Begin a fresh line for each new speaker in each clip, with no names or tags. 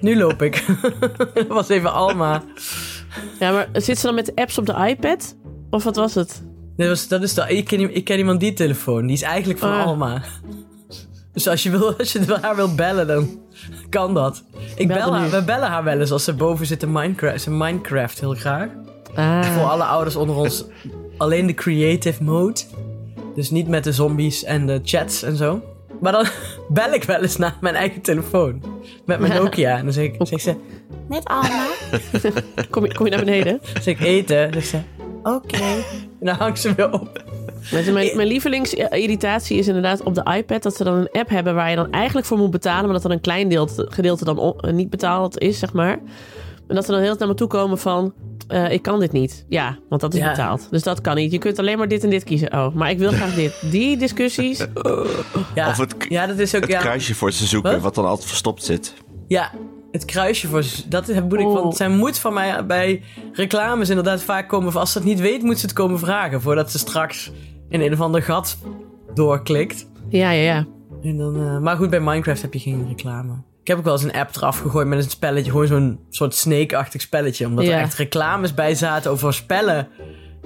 Nu loop ik. Dat was even Alma.
Ja, maar zit ze dan met de apps op de iPad? Of wat was het?
Dat, was, dat is de, ik, ken, ik ken iemand die telefoon. Die is eigenlijk van
Ah.
Alma. Dus als je, wil, als je haar wil bellen, dan kan dat. Ik
Bel
bel
haar
haar,
nu.
we bellen haar wel eens als ze boven zit in Minecraft, in Minecraft heel graag. Voor
Ah,
alle ouders onder ons alleen de creative mode. Dus niet met de zombies en de chats en zo. Maar dan bel ik wel eens naar mijn eigen telefoon. Met mijn Nokia. En dan zeg ik, zeg ze, met Alma.
kom, je, kom je naar beneden?
Dan zeg ik eten. Dan zegt ze, oké. En dan hangt ze weer op.
Mensen, mijn, mijn lievelingsirritatie is inderdaad op de iPad dat ze dan een app hebben waar je dan eigenlijk voor moet betalen, maar dat dan een klein deelte, gedeelte dan on- eh, niet betaald is, zeg maar. En dat ze dan heel snel naar me toe komen van, eh, ik kan dit niet. Ja, want dat is
Ja.
betaald. Dus dat kan niet. Je kunt alleen maar dit en dit kiezen. Oh, maar ik wil graag dit. Die discussies.
Ja,
Of het k-
ja dat is ook...
Het
ja,
kruisje voor ze zoeken,
Wat?
wat dan altijd verstopt zit.
ja, het kruisje voor... z- Dat is, moet ik, want
Oh.
zij moet van mij bij reclames inderdaad vaak komen... Als ze het niet weet, moet ze het komen vragen. Voordat ze straks in een of ander gat doorklikt.
Ja, ja, ja.
En dan, eh, maar goed, bij Minecraft heb je geen reclame. Ik heb ook wel eens een app eraf gegooid met een spelletje. Gewoon zo'n soort snake-achtig spelletje. Omdat er
Ja.
echt reclames bij zaten over spellen.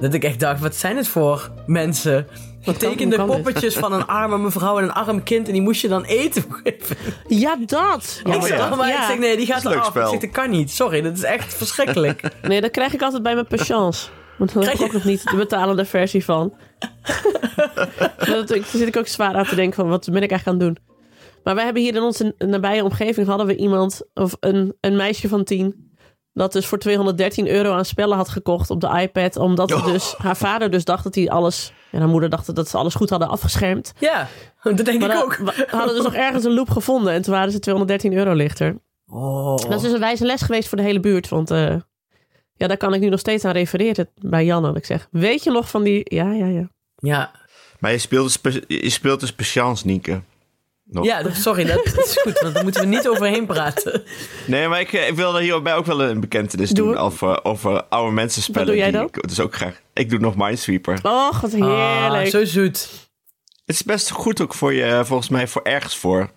Dat ik echt dacht, wat zijn het voor mensen? Getekende
hoe kan dit?
poppetjes van een arme mevrouw en een arm kind. En die moest je dan eten geven.
Ja, dat.
ik
Oh, ja.
zat allemaal, Oh, ik
Oh, Ja.
zeg, nee, die gaat
Dat is een leuk
eraf. Ik
spel.
zeg, dat kan niet. Sorry, dat is echt verschrikkelijk.
Nee, dat krijg ik altijd bij mijn patience. Want dan
Krijg
heb ik
je-
ook nog niet de betalende versie van. dat, ik- daar zit ik ook zwaar aan te denken van, wat ben ik eigenlijk aan het doen? Maar wij hebben hier in onze nabije omgeving hadden we iemand, of een, een meisje van tien, dat dus voor 213 euro aan spellen had gekocht op de iPad. Omdat
Oh.
ze dus, haar vader dus dacht dat hij alles, en haar moeder dacht dat ze alles goed hadden afgeschermd.
ja, dat denk
Maar
ik
dan-
ook.
we hadden dus nog ergens een loop gevonden en toen waren ze 213 euro lichter.
Oh.
Dat is dus een wijze les geweest voor de hele buurt. Want eh, ja, daar kan ik nu nog steeds aan refereren bij Janne. Dat ik zeg, weet je nog van die... Ja, ja, ja.
Ja,
Maar je speelt, een spe- je speelt dus patience, Nienke. Nog.
ja dat- sorry, dat is goed. Want daar moeten we niet overheen praten.
Nee, maar ik, eh, ik wilde hierbij ook wel een bekentenis
Doe
doen
het.
over, over oude mensen spellen.
doe jij dan?
Ik, dus ook graag. Ik doe nog Minesweeper.
Och, wat heerlijk.
Ah, zo zoet.
Het is best goed ook voor je, eh, volgens mij, voor ergens voor.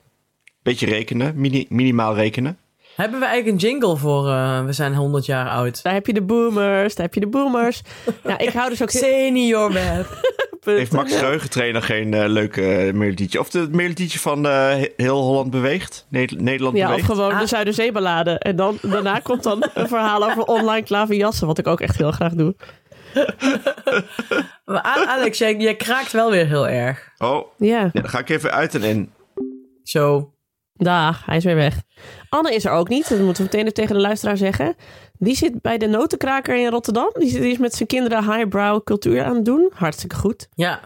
Beetje rekenen, mini- minimaal rekenen.
Hebben we eigenlijk een jingle voor eh, We zijn 100 jaar oud?
Daar heb je de boomers, daar heb je de boomers. Ja, ik hou dus ook...
Senior web.
Heeft Max Geheugentrainer geen eh, leuke eh, melodietje? Of het melodietje van eh, He- Heel Holland Beweegt? Ne- Nederland
Ja, of
Beweegt?
gewoon
Ah.
de Zuiderzeeballade. En dan, daarna komt dan een verhaal over online klaverjassen. Wat ik ook echt heel graag doe.
Maar A- Alex, jij, jij kraakt wel weer heel erg.
Oh,
Ja,
ja, dan ga ik even uit en in.
Zo.
dag. Hij is weer weg. Anne is er ook niet. Dat moeten we meteen even tegen de luisteraar zeggen. Die zit bij de notenkraker in Rotterdam. Die, zit, die is met zijn kinderen highbrow cultuur aan het doen. Hartstikke goed.
Ja.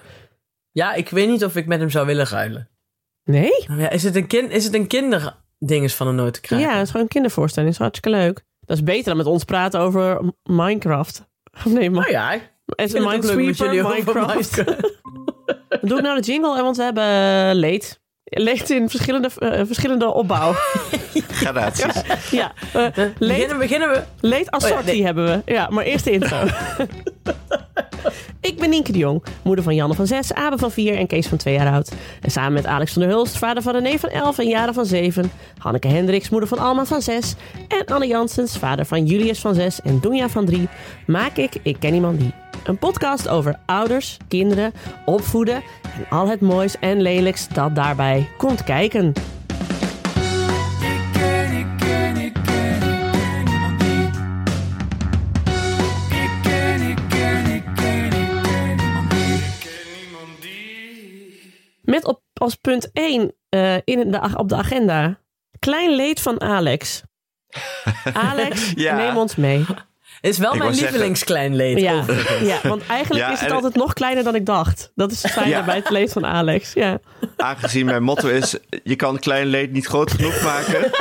Ja, ik weet niet of ik met hem zou willen ruilen. Oh
Nee?
Ja, is, het een kind, is het een kinderdinges van een notenkraker?
Ja, het is gewoon een kindervoorstelling. is hartstikke leuk. Dat is beter dan met ons praten over M- Minecraft. Nee, Ma-
Nou ja, ik
het is
vind het ook leuk met
Minesweeper,
jullie over
Minecraft.
Minecraft.
Doe ik nou de jingle? Eh, Want we hebben leed. Leed in verschillende, eh, verschillende opbouw.
Gradaties.
ja. eh, leed,
Beginnen, beginnen we?
leed assortie
Oh ja, nee.
hebben we. Ja, maar eerst de intro. Ik ben Nienke de Jong, moeder van Janne van 6, Abe van 4 en Kees van 2 jaar oud. En samen met Alex van der Hulst, vader van René van 11 en Jaren van 7. Hanneke Hendricks, moeder van Alma van 6. En Anne Janssens, vader van Julius van 6 en Doenja van 3. Maak ik Ik Ken Iemand Die. Een podcast over ouders, kinderen, opvoeden en al het moois en lelijks dat daarbij komt kijken. Met op, als punt 1 eh, in de, ag- op de agenda. Klein leed van Alex. Alex,
Ja.
neem ons mee.
Is wel
Ik
mijn
wou zeggen-
lievelingskleinleed.
Ja,
over.
ja want eigenlijk
Ja,
is het
en-
altijd nog kleiner dan ik dacht. Dat is het fijne
Ja.
bij het leed van Alex. Ja.
Aangezien mijn motto is: je kan klein leed niet groot genoeg maken,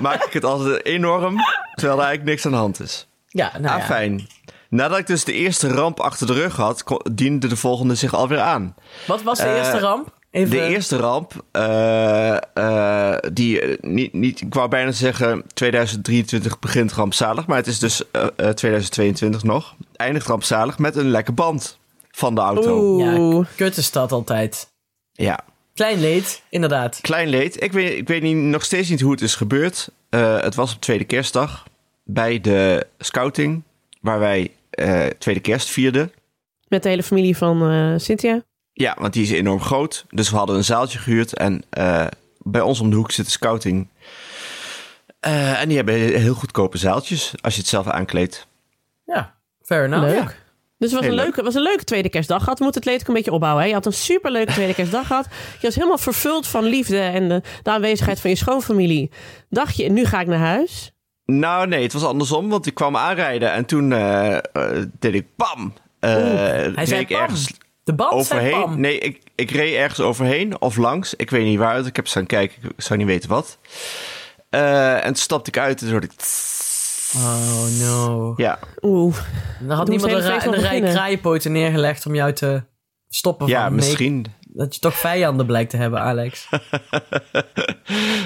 maak ik het altijd enorm, terwijl er eigenlijk niks aan de hand is.
Ja, nou
Ah,
ja.
fijn. Nadat ik dus de eerste ramp achter de rug had, ko- diende de volgende zich alweer aan.
Wat was de
Eh,
eerste ramp? Even,
De eerste ramp, eh, eh, die eh, niet, niet, ik wou bijna zeggen 2023 begint rampzalig, maar het is dus eh, eh, 2022 nog. Eindigt rampzalig met een lekke band van de auto.
Oeh.
Ja, kut is dat altijd.
Ja.
Klein leed, inderdaad.
Klein leed. Ik weet, ik weet niet, nog steeds niet hoe het is gebeurd. Eh, het was op tweede kerstdag bij de scouting, waar wij eh, tweede kerst vierden.
Met de hele familie van eh,
Oh,
Cynthia.
Ja, want die is enorm groot. Dus we hadden een zaaltje gehuurd en eh, bij ons om de hoek zit de scouting. Eh, en die hebben heel goedkope zaaltjes als je het zelf aankleedt.
Ja, fair enough.
Leuk.
Ja.
Dus het was
Heel
een,
leuk.
leuke, was een leuke tweede kerstdag gehad. We moeten het leed ook een beetje opbouwen. Hè? Je had een superleuke tweede kerstdag gehad. Je was helemaal vervuld van liefde en de, de aanwezigheid van je schoonfamilie. Dacht je, nu ga ik naar huis.
Nou nee, het was andersom, want ik kwam aanrijden en toen eh, eh, deed ik bam. Eh,
Hij
reed
zei
ik
pam.
ergens
De band zei
overheen.
pam.
Nee, ik, ik reed ergens overheen of langs. Ik weet niet waar. Ik heb staan kijken. Ik zou niet weten wat. Eh, en toen stapte ik uit en toen hoorde ik... tss.
Oh no.
Ja,
Oeh,
Dan had
Dan
niemand een,
moest je
ra-
even
een rij
beginnen.
kraaienpoten neergelegd om jou te stoppen
ja
van...
misschien.
Dat je toch vijanden blijkt te hebben, Alex.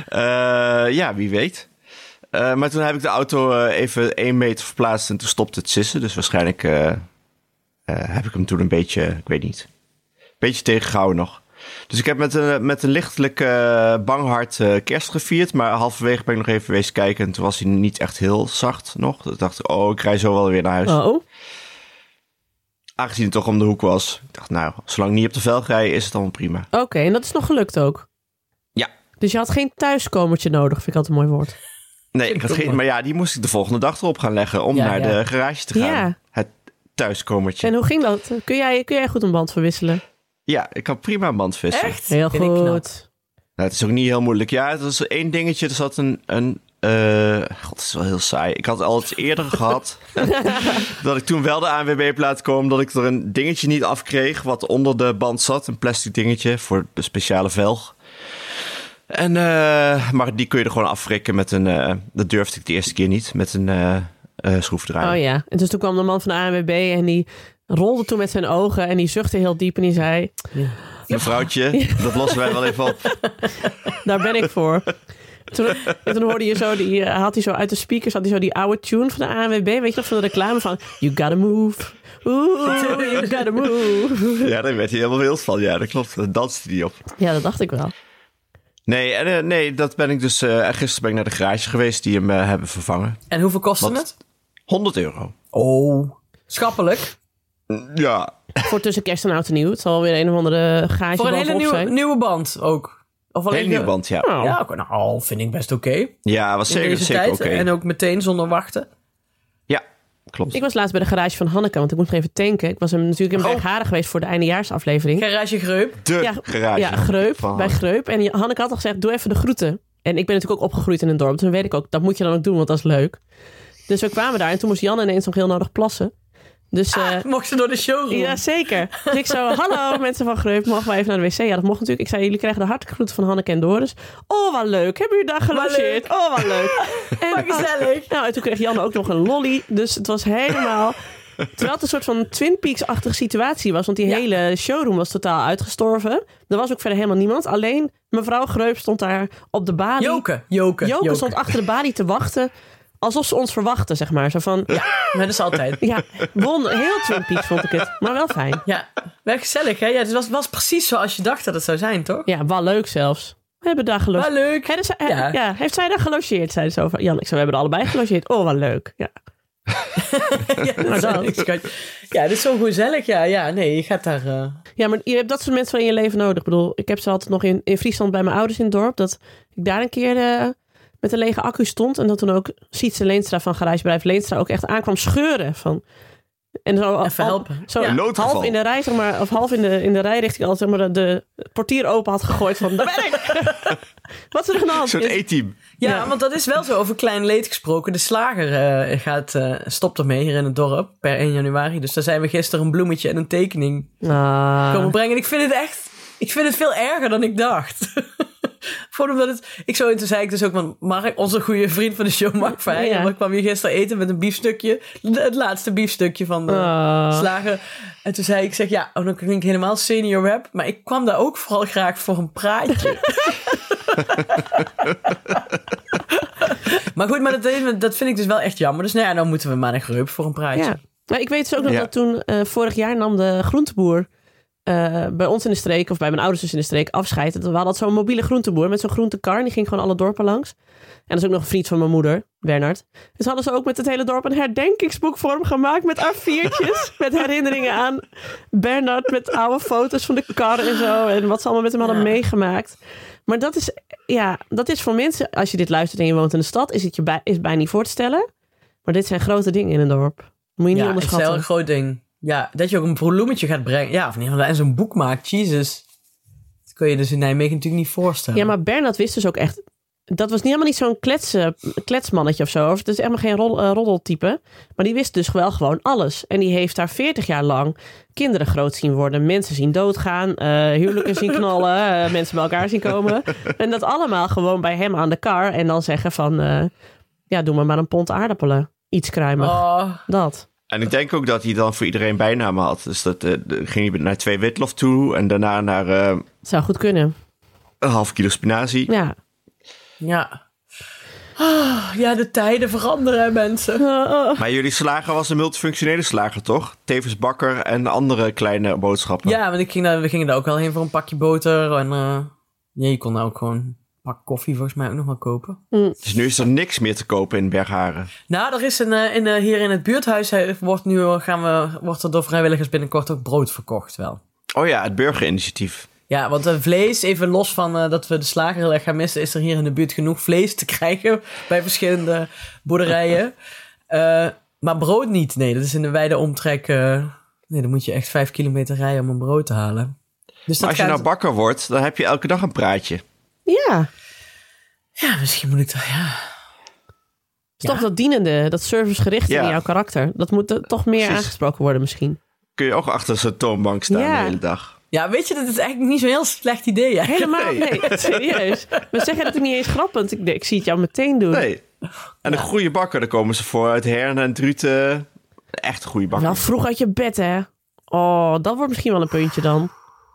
Eh, ja, wie weet. Eh, maar toen heb ik de auto eh, even één meter verplaatst en toen stopte het sissen. Dus waarschijnlijk eh, eh, heb ik hem toen een beetje, ik weet niet, een beetje tegengehouden nog. Dus ik heb met een, met een lichtelijk eh, bang hart eh, kerst gevierd. Maar halverwege ben ik nog even wezen kijken. En toen was hij niet echt heel zacht nog. Toen dacht ik, oh, ik rij zo wel weer naar huis.
oh.
Aangezien het toch om de hoek was. Ik dacht, nou, zolang ik niet op de velg rij, is het allemaal prima.
Oké, en dat is nog gelukt ook.
Ja.
Dus je had geen thuiskomertje nodig, vind ik altijd een mooi woord.
Nee, ik
Vind
had
ik ook
geen, maar ja, die moest ik de volgende dag erop gaan leggen om
Ja,
naar
ja.
de garage te gaan.
Ja.
Het thuiskomertje.
En hoe ging dat? Kun jij, kun jij goed een band verwisselen?
Ja, ik kan prima een band vissen.
Echt?
Heel
Vind ik knap.
goed.
Nou, het is ook niet heel moeilijk. Ja, het was één dingetje. Er zat een... een eh, God, dat is wel heel saai. Ik had het al eens eerder gehad. dat ik toen wel de ANWB op laat komen. Dat ik er een dingetje niet afkreeg. Wat onder de band zat. Een plastic dingetje voor een speciale velg. En, eh, maar die kun je er gewoon afrikken met een... eh, dat durfde ik de eerste keer niet. Met een eh eh, schroefdraaier.
Oh ja. En dus toen kwam de man van de ANWB en die rolde toen met zijn ogen en die zuchtte heel diep en die zei,
Mevrouwtje, dat lossen wij wel even op.
daar ben ik voor. Toen, en toen hoorde je zo, die, eh, had hij zo uit de speakers, had hij zo die oude tune van de ANWB, weet je nog, van de reclame van, you gotta move. Oeh, you gotta move.
Ja, daar werd hij helemaal wild van. Ja, dat klopt. Daar danste hij op.
Ja, dat dacht ik wel.
Nee, en, eh, nee dat ben ik dus... eh, gisteren ben ik naar de garage geweest die hem eh, hebben vervangen.
En hoeveel kostte
Wat?
het?
100 euro.
Oh. Schappelijk.
Ja.
Voor tussen kerst en oud en nieuw. Het zal weer een of andere gaatje
Voor een hele
bovenop
nieuwe,
zijn.
nieuwe band ook. Of alleen
Hele nieuw band, ja.
Nou,
Oh, Ja, oké, nou, vind ik best oké.
Ja, was
In
zeker,
deze
zeker
tijd.
oké.
En eh, ook meteen zonder wachten.
Ja, klopt.
Ik was laatst bij de garage van Hanneke, want ik moest nog even tanken. Ik was hem natuurlijk in
Oh.
Bergharen geweest voor de eindejaarsaflevering.
Garage Greup.
De eh, garage.
ja, Greup,
van
bij
Hanneke.
Greup. En Hanneke had al gezegd, doe even de groeten. En ik ben natuurlijk ook opgegroeid in een dorp, dus dan weet ik ook, dat moet je dan ook doen, want dat is leuk. Dus we kwamen daar en toen moest Jan ineens nog heel nodig plassen. Dus eh,
Mocht ze door de showroom. Ah,
Ja, zeker. Dus ik zo, hallo mensen van Greup, mogen wij even naar de wc? Ja, dat mocht natuurlijk. Ik zei, jullie krijgen de hartelijke groeten van Hanneke en Doris. Oh, wat leuk. Hebben jullie daar gelogeerd? Oh, wat leuk. En,
Wat gezellig.
Nou, en toen kreeg Jan ook nog een lolly. Dus het was helemaal... Terwijl het een soort van Twin Peaks-achtige situatie was. Want die
Ja.
hele showroom was totaal uitgestorven. Er was ook verder helemaal niemand. Alleen mevrouw Greup stond daar op de balie.
Joke. Joke.
Joke stond achter de balie te wachten. Alsof ze ons verwachten, zeg maar. Zo van... Ja,
Maar dat is altijd.
won, heel Twin Peaks vond ik het. Maar wel fijn.
Ja, wel gezellig hè? Ja, het was, was precies zoals je dacht dat het zou zijn, toch?
Ja, wel leuk zelfs. We hebben daar
Wel
gelogeerd.
leuk.
Hebben ze- he- ja.
Ja.
heeft zij daar gelogeerd? Zeiden ze over. Jan, ik zei, we hebben er allebei gelogeerd. Oh, wat leuk. Ja.
Ja, dat
dan.
is niks, schatje. Ja, dit is zo gezellig. Ja, ja, nee, je gaat daar... eh,
ja, maar je hebt dat soort mensen wel in je leven nodig. Ik bedoel, ik heb ze altijd nog in, in Friesland bij mijn ouders in het dorp. Dat ik daar een keer eh, met een lege accu stond. En dat toen ook Sietse Leenstra van garagebedrijf Leenstra ook echt aankwam scheuren. Van, en zo,
Even
al-
helpen.
Zo
Ja.
Noodgeval.
half in de rij, zeg maar, of half in de, in de rijrichting al zeg maar, de, de portier open had gegooid. Van, daar ben ik! Wat is er aan de
Een
hand?
soort E-team.
Ja,
Ja.
want dat is wel zo over klein leed gesproken. De slager eh, gaat, eh, stopt ermee hier in het dorp per 1 januari. Dus daar zijn we gisteren een bloemetje en een tekening
Ah.
komen brengen. En ik vind het echt... Ik vind het veel erger dan ik dacht. Gewoon omdat het... Ik zo, en toen zei ik dus ook, want Mark, onze goede vriend van de show, Mark Verheijen,
Ja.
want ik kwam hier gisteren eten met een biefstukje. Het laatste biefstukje van de
Ah.
slager. En toen zei ik, zeg, ja, oh, dan klink ik helemaal senior rap. Maar ik kwam daar ook vooral graag voor een praatje. maar goed, maar dat, dat vind ik dus wel echt jammer. Dus nou ja, dan moeten we maar naar Greup voor een praatje.
Ja. Maar ik weet dus ook nog
Ja.
dat toen eh, vorig jaar nam de groenteboer eh, bij ons in de streek, of bij mijn ouders dus in de streek, afscheid. En We hadden altijd zo'n mobiele groenteboer met zo'n groentekar. en Die ging gewoon alle dorpen langs. En dat is ook nog een vriend van mijn moeder, Bernard. Dus hadden ze ook met het hele dorp een herdenkingsboek voor hem gemaakt. Met A4'tjes, met herinneringen aan Bernard. Met oude foto's van de kar en zo. En wat ze allemaal met hem hadden
Ja.
meegemaakt. Maar dat is, ja, dat is voor mensen, als je dit luistert en je woont in de stad, is het je bij, is bijna niet voor te stellen. Maar dit zijn grote dingen in een dorp. Moet je niet
ja, het is wel
onderschatten.
een groot ding. Ja, dat je ook een volummetje gaat brengen. Ja, of in ieder geval en zo'n boek maakt. Jezus. Dat kun je dus in Nijmegen natuurlijk niet voorstellen.
Ja, maar Bernard wist dus ook echt. Dat was niet helemaal niet zo'n kletsen, kletsmannetje of zo. Of het is helemaal geen rol, eh, roddeltype. Maar die wist dus wel gewoon alles. En die heeft daar 40 jaar lang kinderen groot zien worden. Mensen zien doodgaan. eh, huwelijken zien knallen. eh, mensen bij elkaar zien komen. En dat allemaal gewoon bij hem aan de kar. En dan zeggen van... eh, ja, doe maar maar een pond aardappelen. Iets kruimig.
Oh,
Dat.
En ik denk ook dat hij dan voor iedereen bijnamen had. Dus dat eh, de- ging hij naar twee witlof toe en daarna naar eh,
Zou goed kunnen.
een half kilo spinazie.
Ja.
ja. Ah, ja, de tijden veranderen, hè, mensen.
Maar jullie slager was een multifunctionele slager, toch? Tevens bakker en andere kleine boodschappen.
Ja, want ik ging daar, we gingen daar ook wel heen voor een pakje boter. En eh, ja, je kon daar ook gewoon een pak koffie volgens mij ook nog wel kopen.
Dus nu is er niks meer te kopen in Bergharen.
Nou, er is een, eh, in, eh, hier in het buurthuis eh, wordt, nu, eh, gaan we, wordt er door vrijwilligers binnenkort ook brood verkocht wel.
Oh ja, het burgerinitiatief.
Ja, want eh, vlees, even los van eh, dat we de slager heel erg gaan missen, is er hier in de buurt genoeg vlees te krijgen bij verschillende boerderijen. Eh, maar brood niet, nee, dat is in de wijde omtrek. eh, nee, dan moet je echt vijf kilometer rijden om een brood te halen. Dus dat
Als je
gaat-
nou bakker wordt, dan heb je elke dag een praatje.
Ja.
Ja, misschien moet ik dat, ja.
Het is toch dat dienende, dat servicegerichte
Ja.
in jouw karakter. Dat moet eh, toch meer
Precies.
aangesproken worden misschien.
Kun je ook achter zo'n toonbank staan
Ja.
de hele dag.
Ja, weet je, dat is eigenlijk niet zo'n heel slecht idee. hè?
Helemaal
Nee.
nee, serieus. We zeggen dat ik niet eens grappend. Ik, ik zie het jou meteen doen.
Nee. En een goede bakker, daar komen ze voor uit Herne en Druten. Echt goede bakker.
Wel vroeg uit je bed, hè? Oh, dat wordt misschien wel een puntje dan.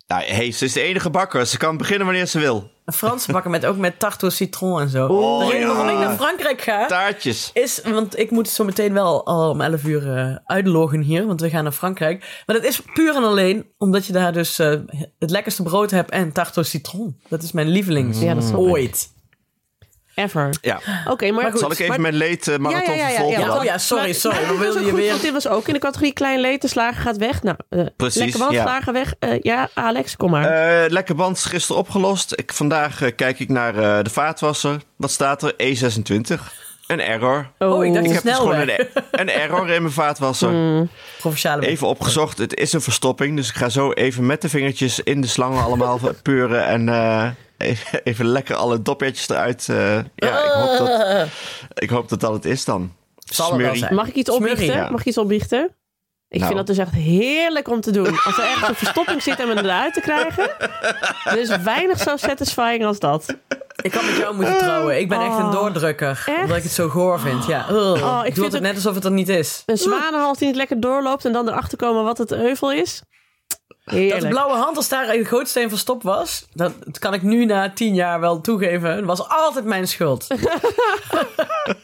Nou, hey, ze is de enige bakker. Ze kan beginnen wanneer ze wil.
Een Franse bakken met ook met tarte au citron en zo.
Oh,
de reden
ja.
waarom ik naar Frankrijk ga,
Taartjes.
is, want ik moet zo meteen wel al om 11 uur eh, uitloggen hier, want we gaan naar Frankrijk. Maar dat is puur en alleen omdat je daar dus eh, het lekkerste brood hebt en tarte au citron. Dat is mijn lievelings
Ja, dat snap ik.
ooit.
Ever.
Ja.
Oké, maar,
Maar goed,
Zal ik even
maar-
mijn leed eh,
Ja,
marathon
ja, ja, ja,
vervolgen?
ja.
dan?
Oh ja, sorry,
Maar-
sorry.
maar
Dan
dit was
wil
ook
je
goed,
weer...
want dit was ook in de categorie klein leed. De slager gaat weg. Nou, eh,
Precies,
lekker man,
ja.
slager weg. Eh, ja, Alex, kom maar.
Eh, lekker band is gisteren opgelost. Ik, vandaag eh, kijk ik naar eh, de vaatwasser. Wat staat er? E26. Een error.
Oh, ik dacht
ik
een
heb dus gewoon een,
snelweg.
e- een error in mijn vaatwasser.
Mm.
Provinciale
Even opgezocht. Het is een verstopping. Dus ik ga zo even met de vingertjes in de slangen allemaal peuren. En eh, even- even lekker alle doppertjes eruit. eh, ja, ik
Ah.
hoop, dat, ik hoop dat dat het is dan.
Zal het wel
Smurrie.
zijn.
Mag ik iets
Smurrie,
opbiechten?
ja.
Mag ik iets opbiechten? Ik
Nou.
vind dat dus echt heerlijk om te doen. Als er ergens een verstopping zit en me eruit te krijgen. Er is weinig zo satisfying als dat.
Ik had met jou moeten trouwen. Ik ben echt een
Oh.
doordrukker.
Echt? Oh,
Omdat ik het zo goor vind. Ja. Ugh. ik doe
vind
altijd
het-
net alsof het er niet is.
Een zwanenhals die niet lekker doorloopt en dan erachter komen wat het heuvel is.
Dat de
Heerlijk.
blauwe hand, als daar een gootsteen verstopt was, dat, dat kan ik nu na tien jaar wel toegeven, dat was altijd mijn schuld.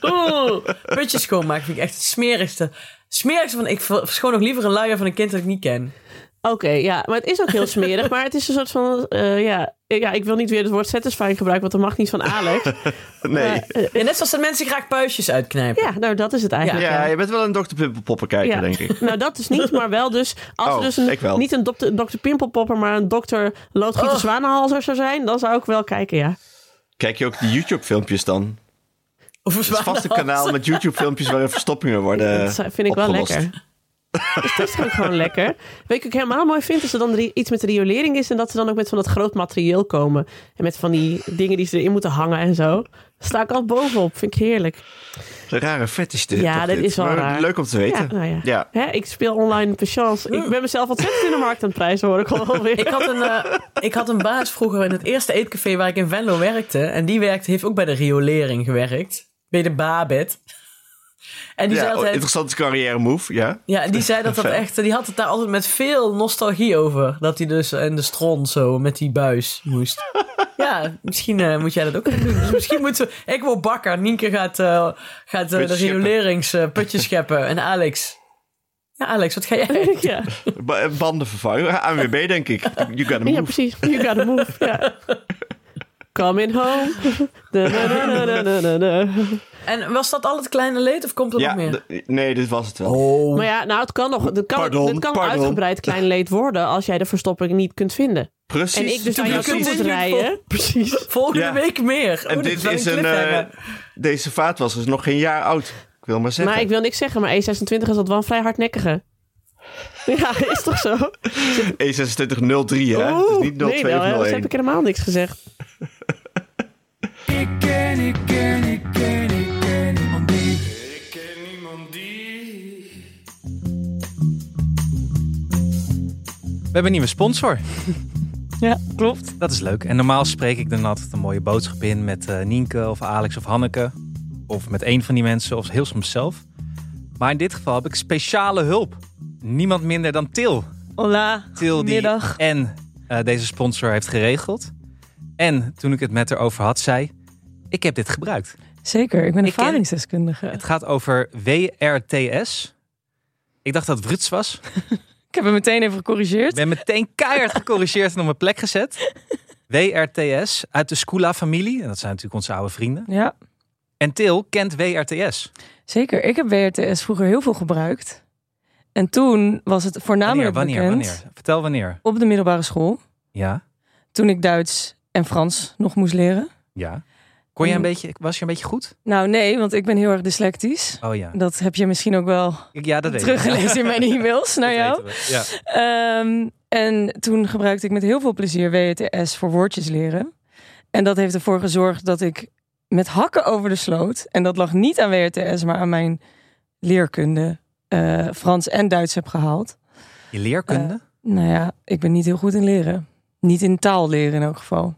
Oeh, putjes schoonmaken vind ik echt het smerigste. Smerigste van, ik ver- verschoon nog liever een luier van een kind dat ik niet ken.
Oké, ja. Maar het is ook heel smerig. Maar het is een soort van... eh, ja, ja, ik wil niet weer het woord satisfying gebruiken, want dat mag niet van Alex.
Nee.
Maar, eh,
Ja, net zoals dat mensen graag puistjes uitknijpen.
ja, nou dat is het eigenlijk.
Ja,
ja.
je bent wel een Dr. Pimpelpoppen kijker,
Ja.
denk ik.
Nou, dat dus niet, maar wel dus... Als
Oh,
er dus een,
ik wel.
niet een dokter, dokter Pimpelpopper, maar een dokter Loodgieter
Oh.
Zwanenhalzer zou zijn... dan zou ik wel kijken, ja.
Eh, Kijk je ook de YouTube-filmpjes dan?
Of een
Het is vast een
zwanenhals.
kanaal met YouTube-filmpjes waarin verstoppingen worden
dat zou- vind ik wel
opgelost.
lekker. Dus dat is ook gewoon lekker. Weet ik ook helemaal mooi vind als er dan ri- iets met riolering is... en dat ze dan ook met van dat groot materieel komen. En met van die dingen die ze erin moeten hangen en zo. Daar sta ik al bovenop. Vind ik heerlijk.
Een rare fetish dit.
Ja,
toch
dit is wel
Maar
raar.
Leuk om te
Ja,
weten.
nou ja.
Ja.
Hè, ik speel online patience. Ik ben mezelf ontzettend in de markt aan het prijzen, hoor ik alweer.
Ik had, een, eh, ik had een baas vroeger in het eerste eetcafé waar ik in Venlo werkte. En die werkte, heeft ook bij de riolering gewerkt. Bij de Babet. En die
Ja,
zei
oh,
altijd...
interessante carrière move, ja.
Ja, en die zei dat dat
Vet.
echt... Die had het daar altijd met veel nostalgie over. Dat hij dus in de stron zo met die buis moest. ja, misschien eh, moet jij dat ook kunnen doen. Dus misschien moeten... Ik word bakker. Nienke gaat, eh, gaat eh, de
Putjes scheppen.
rioleringsputjes scheppen. En Alex... Ja, Alex, wat ga jij?
ja.
Ba- eh, Banden vervangen. ANWB, denk ik. You gotta
ja,
move.
precies. You gotta move. Ja. Coming home. Da, da, da, da, da, da, da.
En was dat al het kleine leed of komt er nog
Ja,
meer?
d- nee, dit was het wel.
Oh.
Maar ja, nou, het kan nog. Het kan,
Pardon,
het kan
pardon.
uitgebreid klein leed worden als jij de verstopping niet kunt vinden.
Precies.
En ik dus aan jou toe
precies.
moet rijden. Precies.
Volgende
Ja.
week meer. Oh,
En
dit is, wel een, cliffhanger.
eh, deze vaat was dus nog geen jaar oud. Ik wil maar zeggen.
Maar ik wil niks zeggen, maar E26 is dat wel een vrij hardnekkige. Ja, is toch zo?
E E2603, hè? Het is
Oeh, nee,
niet 02
nou, hè,
of
anders
01.
heb ik helemaal niks gezegd.
Ik ken, ik ken, ik ken, ik ken niemand die. Ik ken niemand die.
We hebben een nieuwe sponsor.
Ja, klopt.
Dat is leuk. En normaal spreek ik dan altijd een mooie boodschap in met eh, Nienke of Alex of Hanneke. Of met een van die mensen of heel soms zelf. Maar in dit geval heb ik speciale hulp. Niemand minder dan Til.
Hola.
Til die
Goedemiddag.
en eh, deze sponsor heeft geregeld. En toen ik het met haar over had, zei ik heb dit gebruikt.
Zeker, ik ben
Ik ken-
ervaringsdeskundige.
Het gaat over WRTS. Ik dacht dat het Ruts was.
Ik heb hem meteen even gecorrigeerd.
Ik ben meteen keihard gecorrigeerd en op mijn plek gezet. WRTS uit de Skula-familie. En dat zijn natuurlijk onze oude vrienden.
Ja,
En Til kent WRTS.
zeker. Ik heb WRTS vroeger heel veel gebruikt. En toen was het
Wanneer,
voornamelijk
wanneer,
bekend
wanneer? Vertel wanneer.
op de middelbare school.
Ja,
Toen ik Duits en Frans nog moest leren.
ja. Kon je een
Mm.
beetje, was je een beetje goed?
Nou nee, want ik ben heel erg dyslectisch.
Oh ja.
Dat heb je misschien ook wel
Ik- Ja, dat weet ik.
teruggelezen in mijn e-mails naar
Dat
jou.
weten we. Ja.
Ehm, en toen gebruikte ik met heel veel plezier WTS voor woordjes leren. En dat heeft ervoor gezorgd dat ik met hakken over de sloot. En dat lag niet aan WTS, maar aan mijn leerkunde eh, Frans en Duits heb gehaald.
Je leerkunde.
Nou ja, ik ben niet heel goed in leren. Niet in taal leren in elk geval.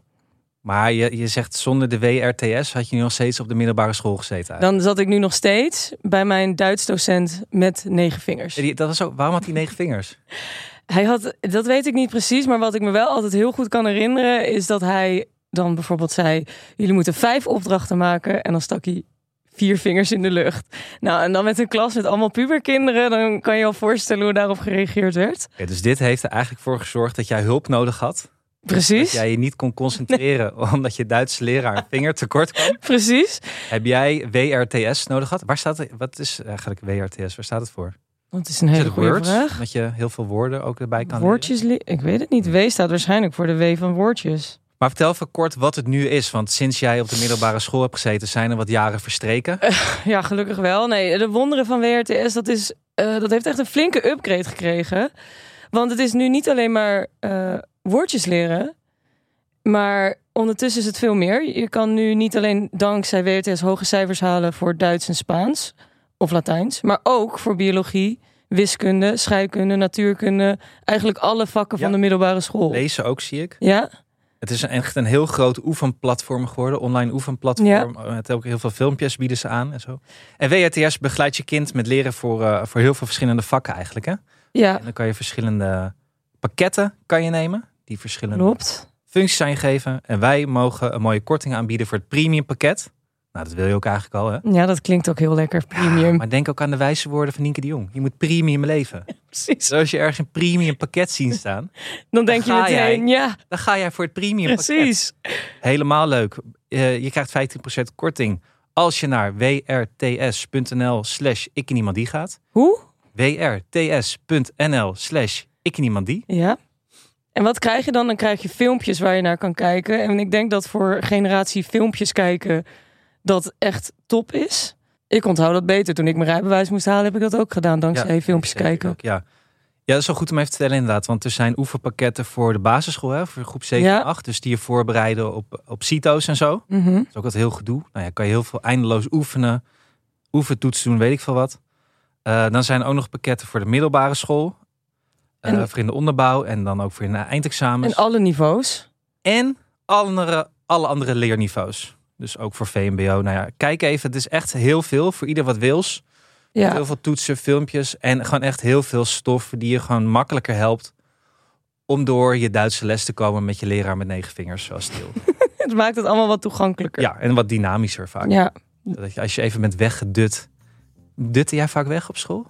Maar je, je zegt zonder de WRTS had je nu nog steeds op de middelbare school gezeten. eigenlijk.
Dan zat ik nu nog steeds bij mijn Duits docent met negen vingers.
Die- Dat was ook, waarom had hij negen vingers?
Hij had, dat weet ik niet precies, maar wat ik me wel altijd heel goed kan herinneren is dat hij dan bijvoorbeeld zei: jullie moeten vijf opdrachten maken en dan stak hij vier vingers in de lucht. Nou, en dan met een klas met allemaal puberkinderen, dan kan je je al voorstellen hoe daarop gereageerd werd.
Oké, dus dit heeft er eigenlijk voor gezorgd dat jij hulp nodig had. Dat
Precies,
jij je niet kon concentreren omdat je Duitse leraar een vinger tekort kwam.
precies.
Heb jij WRTS nodig gehad? Waar staat het? Wat is eigenlijk WRTS? Waar staat het voor?
Want het is een
Is
hele
het
goede
Words?
vraag.
Dat je heel veel woorden ook erbij kan leren?
Woordjes, li- ik weet het niet. W staat waarschijnlijk voor de W van woordjes.
Maar vertel even kort wat het nu is. Want sinds jij op de middelbare school hebt gezeten, zijn er wat jaren verstreken.
Oh. Ja, gelukkig wel. Nee, de wonderen van WRTS, dat, is, eh, dat heeft echt een flinke upgrade gekregen. Want het is nu niet alleen maar eh, woordjes leren, maar ondertussen is het veel meer. Je kan nu niet alleen dankzij WRTS hoge cijfers halen voor Duits en Spaans of Latijns, maar ook voor biologie, wiskunde, scheikunde, natuurkunde, eigenlijk alle vakken
Ja.
van de middelbare school.
Lezen ook, zie ik.
Ja,
Het is echt een heel groot oefenplatform geworden. Online oefenplatform. Met ook heel veel filmpjes bieden ze aan en zo. En WRTS begeleidt je kind met leren voor, eh, voor heel veel verschillende vakken eigenlijk. Hè?
ja,
En dan kan je verschillende pakketten kan je nemen. Die verschillende
klopt.
functies zijn gegeven. En wij mogen een mooie korting aanbieden voor het premium pakket. Nou, dat wil je ook eigenlijk al, hè?
Ja, dat klinkt ook heel lekker, premium.
Maar denk ook aan de wijze woorden van Nienke de Jong. Je moet premium leven.
Precies.
Dus als je ergens een premium pakket ziet staan,
Dan denk je
Ga jij.
meteen, ja,
dan ga jij voor het premium pakket.
precies.
Helemaal leuk. Eh, je krijgt 15% korting als je naar wrts.nl slash ik niemand die gaat.
Hoe?
wrts.nl slash ik niemand die.
Ja. En wat krijg je dan? Dan krijg je filmpjes waar je naar kan kijken. En ik denk dat voor generatie filmpjes kijken dat echt top is. Ik onthoud dat beter. Toen ik mijn rijbewijs moest halen, heb ik dat ook gedaan dankzij filmpjes
Zeker
kijken.
ook, ja. ja, dat is wel goed om even te vertellen inderdaad. Want er zijn oefenpakketten voor de basisschool, hè, voor groep 7
Ja.
en 8. Dus die je voorbereiden op, op CITO's en zo.
Mhm.
Dat is ook wat heel gedoe. Nou ja, kan je heel veel eindeloos oefenen. Oefentoets doen, weet ik veel wat. Eh, dan zijn er ook nog pakketten voor de middelbare school. eh,
En-
voor in de onderbouw en dan ook voor in de eindexamens.
En
En, al...
alle niveaus.
andere, alle andere leerniveaus. Dus ook voor VMBO. Nou ja, kijk even. Het is echt heel veel voor ieder wat wils.
Ja.
Heel veel toetsen, filmpjes en gewoon echt heel veel stof die je gewoon makkelijker helpt. Om door je Duitse les te komen met je leraar met negen vingers, zoals stil.
Het maakt het allemaal wat toegankelijker.
Ja, en wat dynamischer vaak.
Ja.
Dat je, als je even bent weggedut. Dutte jij vaak weg op school?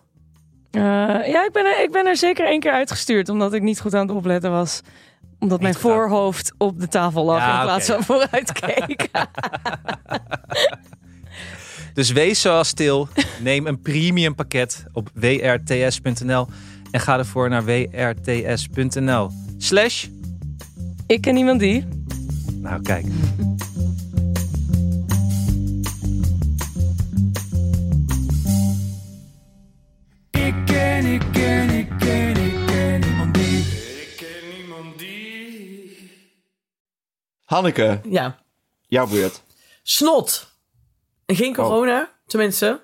Eh, ja, ik ben, er, ik ben er zeker één keer uitgestuurd, omdat ik niet goed aan het opletten was. Omdat mijn
goed aan-
voorhoofd op de tafel lag
Ja,
in plaats
oké,
van vooruit keek.
Dus wees zoals stil. Neem een premium pakket op wrts.nl en ga ervoor naar wrts.nl slash...
ik ken iemand die.
Nou, kijk.
Ik ken, ik ken, ik ken, ik ken niemand die. Ik ken niemand die.
Hanneke,
Ja.
jouw beurt.
Snot. En Geen
Oh.
corona, tenminste.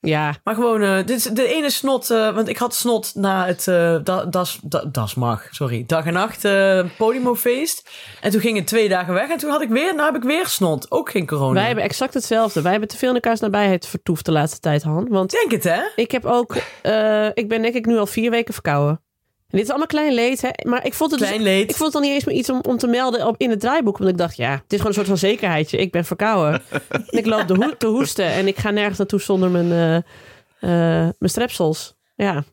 Ja,
Maar gewoon, eh, dit is de ene snot, eh, want ik had snot na het eh, da, das, da- das mag, sorry, dag en nacht eh Podimo-feest. En toen ging het twee dagen weg en toen had ik weer, nou heb ik weer snot. Ook geen corona.
wij hebben exact hetzelfde. Wij hebben te veel in elkaars nabijheid vertoefd de laatste tijd, Han. Want
Ik Denk het, hè?
Ik heb ook, eh, ik ben denk ik nu al vier weken verkouden. En dit is allemaal klein leed, hè? Maar ik vond het, dus-
Klein leed.
ik vond het dan niet eens meer iets om, om te melden op, in het draaiboek. Want ik dacht, ja, het is gewoon een soort van zekerheidje. Ik ben verkouden. en ik loop de ho- te hoesten en ik ga nergens naartoe zonder mijn, eh, eh, mijn strepsels. Ja.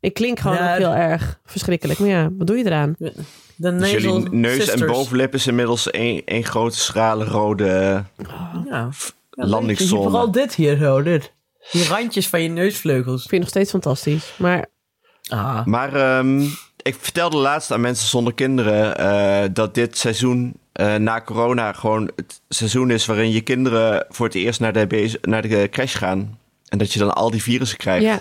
Ik klink gewoon
Ja,
ook heel erg verschrikkelijk. Maar ja, wat doe je eraan?
De
Dus
nasal
jullie neus en
sisters.
bovenlip is inmiddels één één grote schrale rode
Ja. Je ziet
landingszone.
Vooral dit hier zo, dit. Die randjes van je neusvleugels.
Ik vind het nog steeds fantastisch. Maar
Ah.
Maar ehm, ik vertelde laatst aan mensen zonder kinderen eh, dat dit seizoen eh, na corona gewoon het seizoen is waarin je kinderen voor het eerst naar de, bez- naar de crash gaan. En dat je dan al die virussen krijgt.
ja,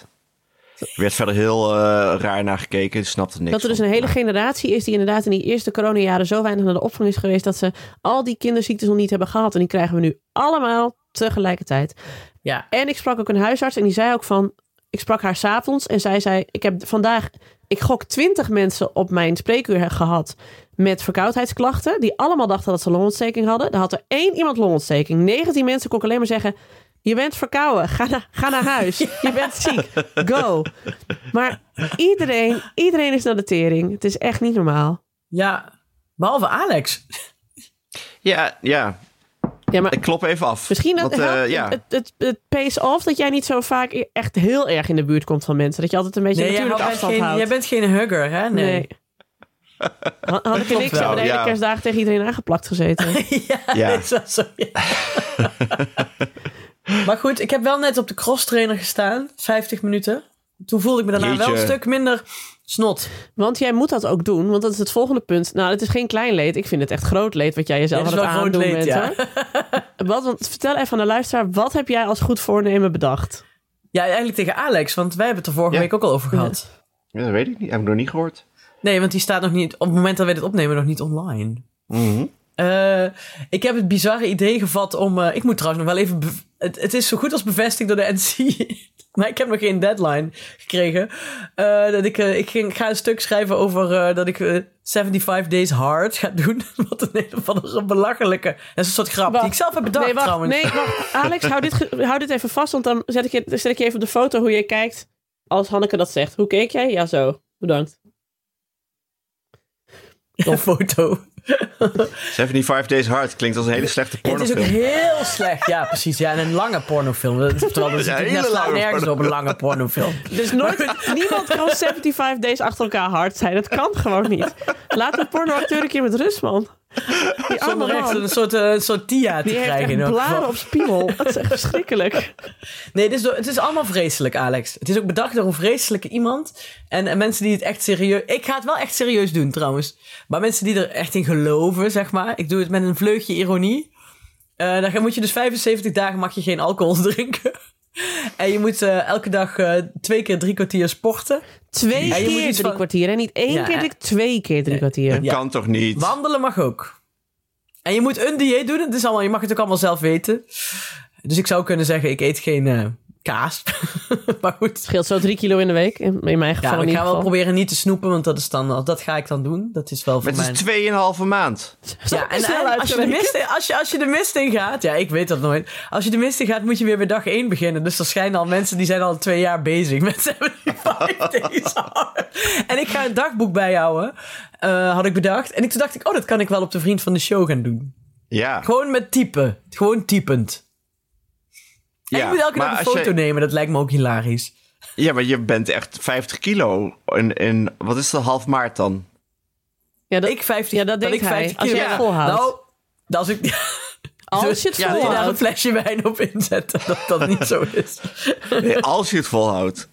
Er werd verder heel eh, raar naar gekeken, ik snapte niks.
dat er dus
van.
een hele generatie is die inderdaad in die eerste coronajaren zo weinig naar de opvang is geweest dat ze al die kinderziektes nog niet hebben gehad. En die krijgen we nu allemaal tegelijkertijd.
Ja.
En ik sprak ook een huisarts en die zei ook van, ik sprak haar s'avonds en zij zei, ik heb vandaag, ik gok twintig mensen op mijn spreekuur gehad met verkoudheidsklachten, die allemaal dachten dat ze longontsteking hadden. Er had er één iemand longontsteking. 19 mensen kon ik alleen maar zeggen, je bent verkouden, ga naar, ga naar huis, je bent ziek, go. Maar iedereen, iedereen is naar de tering. Het is echt niet normaal.
ja, behalve Alex.
Ja, ja,
Ja, maar
ik klop even af.
Misschien dat
Want, eh,
helpt
ja.
het, het, het pays off dat jij niet zo vaak e-, echt heel erg in de buurt komt van mensen. Dat je altijd een beetje
Nee, jij,
natuurlijk
bent
afstand
geen,
houdt.
jij bent geen hugger, hè? Nee.
nee. Had had ik er niks
wel,
hebben de hele
ja.
kerstdagen tegen iedereen aangeplakt gezeten.
ja,
Ja.
is wel zo, ja. maar goed, ik heb wel net op de crosstrainer gestaan. 50 minuten. Toen voelde ik me daarna wel
Jeetje.
een stuk minder snot.
Want jij moet dat ook doen, want dat is het volgende punt. Nou, het is geen klein leed. Ik vind het echt groot leed wat jij jezelf
Dit
aan
is
het
wel groot
aandoen
leed,
bent.
ja.
hoor. Wat, want vertel even aan de luisteraar, wat heb jij als goed voornemen bedacht?
Ja, eigenlijk tegen Alex, want wij hebben het er vorige
Ja.
week ook al over gehad.
Ja, dat weet ik niet, heb ik nog niet gehoord.
Nee, want die staat nog niet, op het moment dat wij dit opnemen, nog niet online.
Mhm.
Eh, ik heb het bizarre idee gevat om. eh, ik moet trouwens nog wel even. bev- Het, het is zo goed als bevestigd door de NC. maar ik heb nog geen deadline gekregen. Eh, dat ik, eh, ik, ging, ik ga een stuk schrijven over eh, dat ik eh, 75 Days Hard ga doen. Wat een hele van een belachelijke. Dat is een soort grap die ik zelf heb bedacht
nee, wacht,
trouwens.
Nee, wacht. Alex, hou dit, ge- hou dit even vast, want dan zet ik, je, dan zet ik je even op de foto hoe je kijkt als Hanneke dat zegt. Hoe keek jij? Ja, zo. Bedankt.
Een foto.
75 Days Hard klinkt als een hele slechte
Het is ook
pornofilm.
heel slecht. Ja, precies. Ja, en een lange pornofilm. Dat- Terwijl dat is
Ja,
natuurlijk net
hele
slaan
lange
nergens op een lange pornofilm.
Dus nooit, niemand kan 75 days achter elkaar hard zijn. Dat kan gewoon niet. Laat een pornoacteur een keer met rust, man. Die arme
Zonder echt
man.
een soort, eh, een soort TIA te
Die heeft
krijgen.
echt
in elk geval.
blaren op spiegel. Dat is echt verschrikkelijk.
Nee, het is, het is allemaal vreselijk, Alex. Het is ook bedacht door een vreselijke iemand. En, en mensen die het echt serieus... Ik ga het wel echt serieus doen, trouwens. Maar mensen die er echt in geloven, zeg maar. Ik doe het met een vleugje ironie. Eh dan ga- moet je dus 75 dagen mag je geen alcohol drinken. en je moet eh, elke dag eh, twee keer drie kwartier sporten.
Twee
Ja, je moet
keer
iets
drie
van-
kwartier. En niet één
Ja.
keer, dik- twee keer drie kwartier.
Ja.
Kan toch niet?
Wandelen mag ook. En je moet een dieet doen. Het is allemaal, je mag het ook allemaal zelf weten. Dus ik zou kunnen zeggen, ik eet geen eh, kaas. maar goed.
Scheelt zo drie kilo in de week. In in mijn geval
Ja,
in
ik
ieder
ga wel
geval.
proberen niet te snoepen, want dat, is dan, dat ga ik dan doen. Dat is wel voor
Het
mij.
is 2,5 maand.
Ja, en,
snel
en als, je de
uitgerekend.
mist in, als, je, als je de mist in gaat, ja, ik weet dat nooit. Als je de mist in gaat, moet je weer bij dag 1 beginnen. Dus er schijnen al mensen die zijn al twee jaar bezig met 75 days hard. En ik ga een dagboek bijhouden, eh, had ik bedacht. En ik, toen dacht ik, oh, dat kan ik wel op de vriend van de show gaan doen.
Ja.
Gewoon met typen. Gewoon typend. En
ja.
je moet elke
maar
dag een
als
foto
je-
nemen, dat lijkt me ook hilarisch.
Ja, maar je bent echt 50 kilo in, in wat is dat, half maart dan?
Ja, dat,
Ik 50,
Ja, dat denkt
ik
hij,
50
als jij
kilo
het
ben.
volhoudt.
Nou, dat als ik Dus
als je het
ja, als je daar een
volhoudt.
flesje wijn op inzet, dat dat niet zo is.
Nee, als je het volhoudt.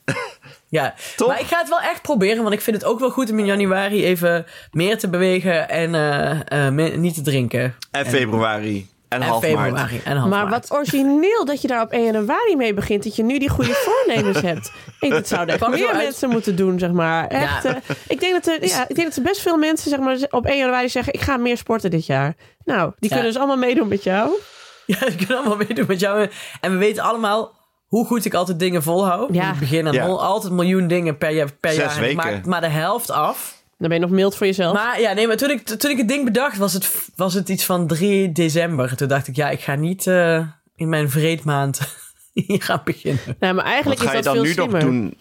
Ja,
Toch?
maar ik ga het wel echt proberen, want ik vind het ook wel goed om in januari even meer te bewegen en eh, eh, me- niet te drinken.
En februari. En,
En
half maart.
februari en half
Maar
maart.
wat origineel dat je daar op 1 januari mee begint. Dat je nu die goede voornemens hebt. Ik, dat zouden echt
Pak zo
meer
uit.
mensen moeten doen, zeg maar. Echt,
Ja.
eh, ik, denk dat er, ja, ik denk dat er best veel mensen zeg maar, op 1 januari zeggen... ik ga meer sporten dit jaar. Nou,
Ja.
die kunnen dus allemaal meedoen met jou.
Ja, ik kan allemaal meedoen met jou. En we weten allemaal hoe goed ik altijd dingen volhoud.
Ja.
Van het begin aan
Ja.
nul. Altijd een miljoen dingen per, jaar- per
Zes
jaar. En ik
weken.
maak maar de helft af.
Dan ben je nog mild voor jezelf.
Maar ja, nee, maar toen ik, toen ik het ding bedacht, was het, was het iets van 3 december. Toen dacht ik, ja, ik ga niet eh, in mijn vreedmaand hier gaan beginnen.
nou, maar
Wat
eigenlijk
ga je
is dat
dan nu
veel
nog
slimmer.
doen?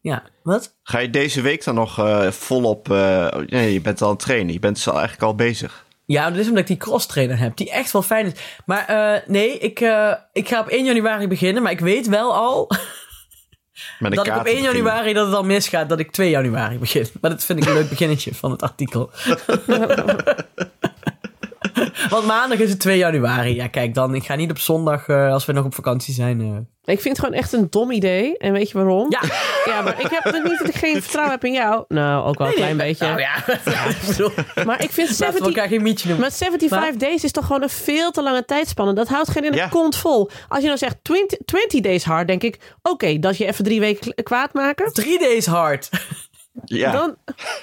Ja, wat?
Ga je deze week dan nog eh, volop... eh, nee, je bent al aan het trainen. Je bent dus al eigenlijk al bezig.
Ja, dat is omdat ik die cross trainer heb, die echt wel fijn is. Maar eh, nee, ik, eh, ik ga op 1 januari beginnen, maar ik weet wel al
Met een
dat ik op
kater
1
beginnen.
januari dat het al misgaat, dat ik 2 januari begin. Maar dat vind ik een leuk beginnetje van het artikel. Want maandag is het 2 januari. Ja, kijk dan. Ik ga niet op zondag, eh, als we nog op vakantie zijn. eh.
Ik vind het gewoon echt een dom idee. En weet je waarom?
Ja,
Ja, maar ik heb het niet dat ik geen vertrouwen heb in jou. Nou, ook wel een klein beetje.
Nou ja, ik bedoel,
Maar ik vind
laten we
17,
elkaar geen mietje noemen.
Maar 75
Maar-
days is toch gewoon een veel te lange tijdspanne. Dat houdt geen in de
Ja.
kont vol. Als je nou zegt 20, 20 days hard, denk ik... Oké, dat je even drie weken k- kwaad maken.
3 days hard.
Ja.
Dan,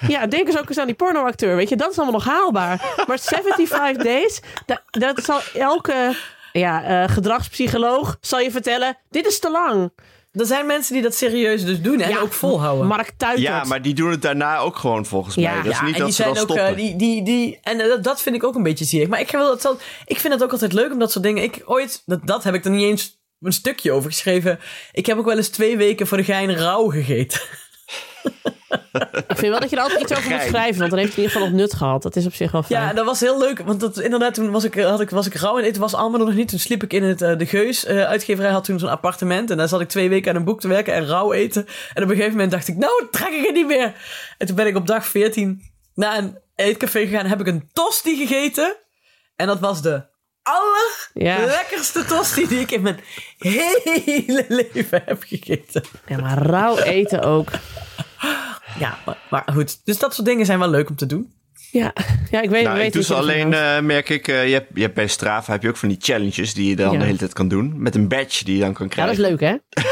ja, denk eens ook eens aan die pornoacteur. Weet je, dat is allemaal nog haalbaar. Maar 75 days, da- dat zal elke ja, eh, gedragspsycholoog zal je vertellen... Dit is te lang.
Er zijn mensen die dat serieus dus doen en
Ja,
ook volhouden.
Mark Tuitert.
Ja, maar die doen het daarna ook gewoon volgens
Ja.
mij. Dat is
ja,
niet
en
dat
die
ze dan
zijn ook,
stoppen.
eh, die, die, die, en eh, dat, dat vind ik ook een beetje ziek. Maar ik, wil dat wel- ik vind het ook altijd leuk om dat soort dingen. Ik ooit, dat, dat heb ik er niet eens een stukje over geschreven. Ik heb ook wel eens twee weken voor de gein rauw gegeten.
Ik vind wel dat je er altijd iets over moet
Gein.
schrijven. Want dan heeft het in ieder geval nog nut gehad. Dat is op zich wel fijn.
Ja, dat was heel leuk. Want dat, inderdaad, toen was ik, eh, had ik, was ik rauw en het was allemaal nog niet. Toen sliep ik in het, eh, de Geus. eh, uitgeverij had toen zo'n appartement. En daar zat ik twee weken aan een boek te werken en rauw eten. En op een gegeven moment dacht ik, nou, dat trek ik het niet meer. En toen ben ik op dag 14 naar een eetcafé gegaan. Heb ik een tosti gegeten. En dat was de aller
Ja.
lekkerste tosti die ik in mijn hele leven heb gegeten.
ja, maar rauw eten ook.
Ja, maar, maar goed. Dus dat soort dingen zijn wel leuk om te doen.
Ja, ja ik weet,
Nou,
weet
ik doe
niet
ze
of je
alleen,
het
eh, merk ik, eh, je, hebt, je hebt bij Strava heb je ook van die challenges die je dan
Ja.
de hele tijd kan doen. Met een badge die je dan kan
Ja, dat
krijgen.
is leuk, hè?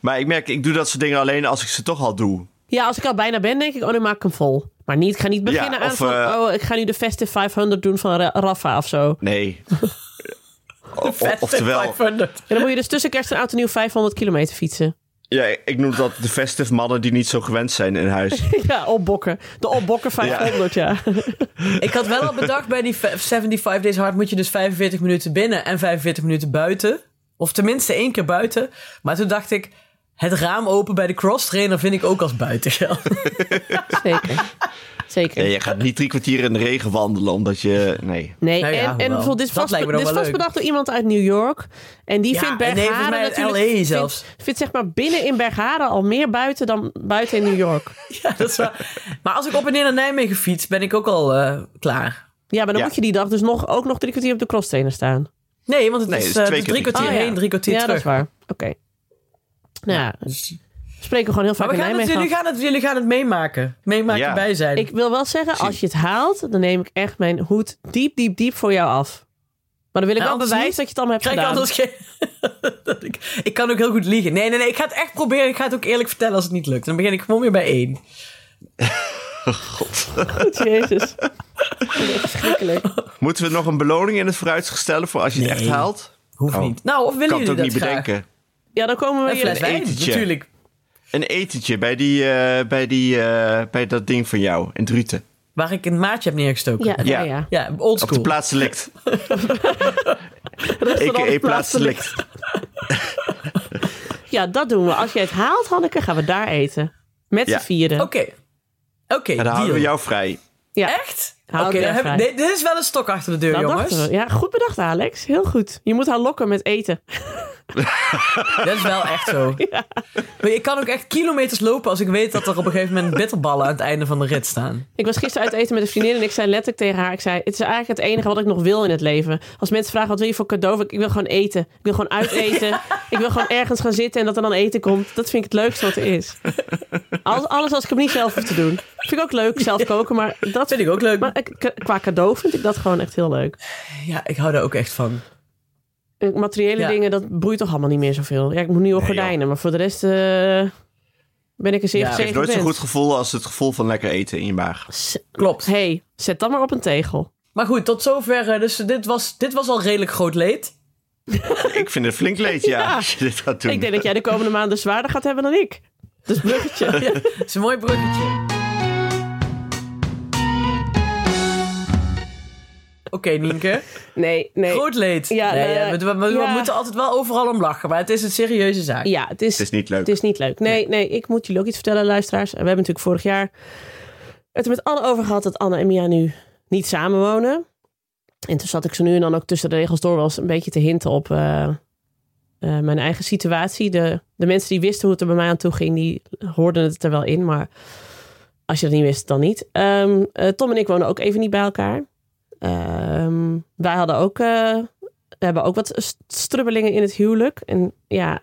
maar ik merk, ik doe dat soort dingen alleen als ik ze toch al doe.
Ja, als ik al bijna ben, denk ik, oh, dan maak ik hem vol. Maar niet, ik ga niet beginnen aan
of,
van,
eh,
oh, ik ga nu de Festive 500 doen van Ra- Rafa of zo.
Nee. O- o-
Vet,
oftewel,
500.
En dan moet je dus tussen kerst en oud en nieuw 500 kilometer fietsen.
ja, ik noem dat de festive mannen die niet zo gewend zijn in huis.
ja, opbokken. De opbokken 500, ja.
Ik had wel al bedacht bij die v- 75 Days Hard moet je dus 45 minuten binnen en 45 minuten buiten. Of tenminste één keer buiten. Maar toen dacht ik, het raam open bij de cross trainer vind ik ook als buiten gelden.
Zeker. Zeker.
Ja, je gaat niet drie kwartier in de regen wandelen omdat je... Nee.
Nee,
Nou ja,
en, en
hoewel.
bijvoorbeeld, dit is
Dat
vast,
lijkt me dan
dit is
wel leuk.
vast bedacht door iemand uit New York. En die
Ja,
vindt
en nee,
Bergharen
volgens mij uit
natuurlijk...
LA
vindt-
zelfs.
Vindt zeg maar binnen in Bergharen al meer buiten dan buiten in New York.
Ja, dat is waar. Maar als ik op en neer naar Nijmegen fiets, ben ik ook al eh, klaar.
Ja, maar dan
Ja.
moet je die dag dus nog, ook nog drie kwartier op de crosstrainer staan.
Nee, want het
Nee,
is,
het is
eh,
twee
dus
keer
drie
die
kwartier
tijd.
heen, drie kwartier
Oh ja, dat
terug.
is waar. Oké. Nou ja,
Dus-
spreken we gewoon heel vaak
maar we
in
gaan het,
Nijmegen
jullie,
af.
gaan het, jullie gaan het meemaken. Meemaken
Ja.
bij zijn.
Ik wil wel zeggen, als je het haalt, dan neem ik echt mijn hoed diep, diep, diep voor jou af. Maar dan wil ik
Nou,
wel
anders
bewijs
niet.
dat je het allemaal hebt
Krijg ik
gedaan.
anders geen... dat ik, ik kan ook heel goed liegen. Nee, nee, nee. Ik ga het echt proberen. Ik ga het ook eerlijk vertellen als het niet lukt. Dan begin ik gewoon weer bij één.
Goed, jezus. Dat is echt Verschrikkelijk.
Moeten we nog een beloning in het vooruitzicht stellen voor als je het
Nee.
echt haalt?
Hoeft
Oh.
niet. Nou, of willen
kan het
jullie
ook
dat
niet
graag?
bedenken.
Ja, dan komen we
Een
hier.
fles wijn,
etentje.
natuurlijk.
Een etentje bij, die, eh, bij, die, eh, bij dat ding van jou in Druten.
Waar ik een maatje heb neergestoken.
Ja,
Ja,
ja,
Ja.
ja.
old
Op de
school.
plaatsdelict.
Restaurant
A.k.a.
plaatselijk.
plaatsdelict.
Ja, dat doen we. Als je het haalt, Hanneke, gaan we daar eten. Met
Ja.
z'n vieren.
Oké. Oké,
En dan houden we
deal.
jou vrij.
Ja,
Oh, Echt? Oké,
Houden we
dan
jou
heb-
vrij.
nee, dit is wel een stok achter de deur,
dat
jongens.
dachten we. Ja, goed bedacht, Alex. Heel goed. Je moet haar lokken met eten.
Dat is wel echt zo. Maar ik kan ook echt kilometers lopen als ik weet dat er op een gegeven moment bitterballen aan het einde van de rit staan.
Ik was gisteren uit eten met een vriendin en ik zei letterlijk tegen haar: ik zei, Het is eigenlijk het enige wat ik nog wil in het leven. Als mensen vragen: Wat wil je voor cadeau? Ik wil gewoon eten. Ik wil gewoon uiteten. Ik wil gewoon ergens gaan zitten en dat er dan eten komt. Dat vind ik het leukste wat er is. Alles, alles als ik hem niet zelf hoef te doen. Vind ik ook leuk, zelf koken. Maar, dat,
Vind ik ook leuk.
maar ik- k- qua cadeau vind ik dat gewoon echt heel leuk.
Ja, ik hou daar ook echt van.
Eh, Materiële
Ja.
dingen, dat boeit toch allemaal niet meer zoveel. Ja, ik moet nieuwe
Nee, joh.
gordijnen, maar voor de rest eh, ben ik er zeer
Ja,
ja,
het
Het heeft nooit zo'n goed gevoel als het gevoel van lekker eten in je maag.
Klopt.
hey, zet dat maar op een tegel.
Maar goed, tot zover. eh, Dus dit was, dit was al redelijk groot leed.
Ik vind het flink leed, ja,
Ja.
als je dit gaat doen.
Ik denk dat jij de komende maanden zwaarder gaat hebben dan ik. Dus bruggetje.
Ja, het is een mooi bruggetje. Oké, Nienke.
Nee, nee.
Groot leed.
Ja,
nee,
eh,
ja, we, we- we
ja.
moeten altijd wel overal om lachen, maar het is een serieuze zaak.
Ja, het is,
Het is niet leuk.
het is niet leuk. Nee, nee, ik moet jullie ook iets vertellen, luisteraars. We hebben natuurlijk vorig jaar het er met Anne over gehad dat Anne en Mia nu niet samenwonen. En toen zat ik zo nu en dan ook tussen de regels door wel eens een beetje te hinten op eh, eh, mijn eigen situatie. De, de mensen die wisten hoe het er bij mij aan toe ging, die hoorden het er wel in. Maar als je dat niet wist, dan niet. Ehm, eh, Tom en ik wonen ook even niet bij elkaar. Ehm, wij hadden ook, eh, we hebben ook wat st- strubbelingen in het huwelijk. En ja,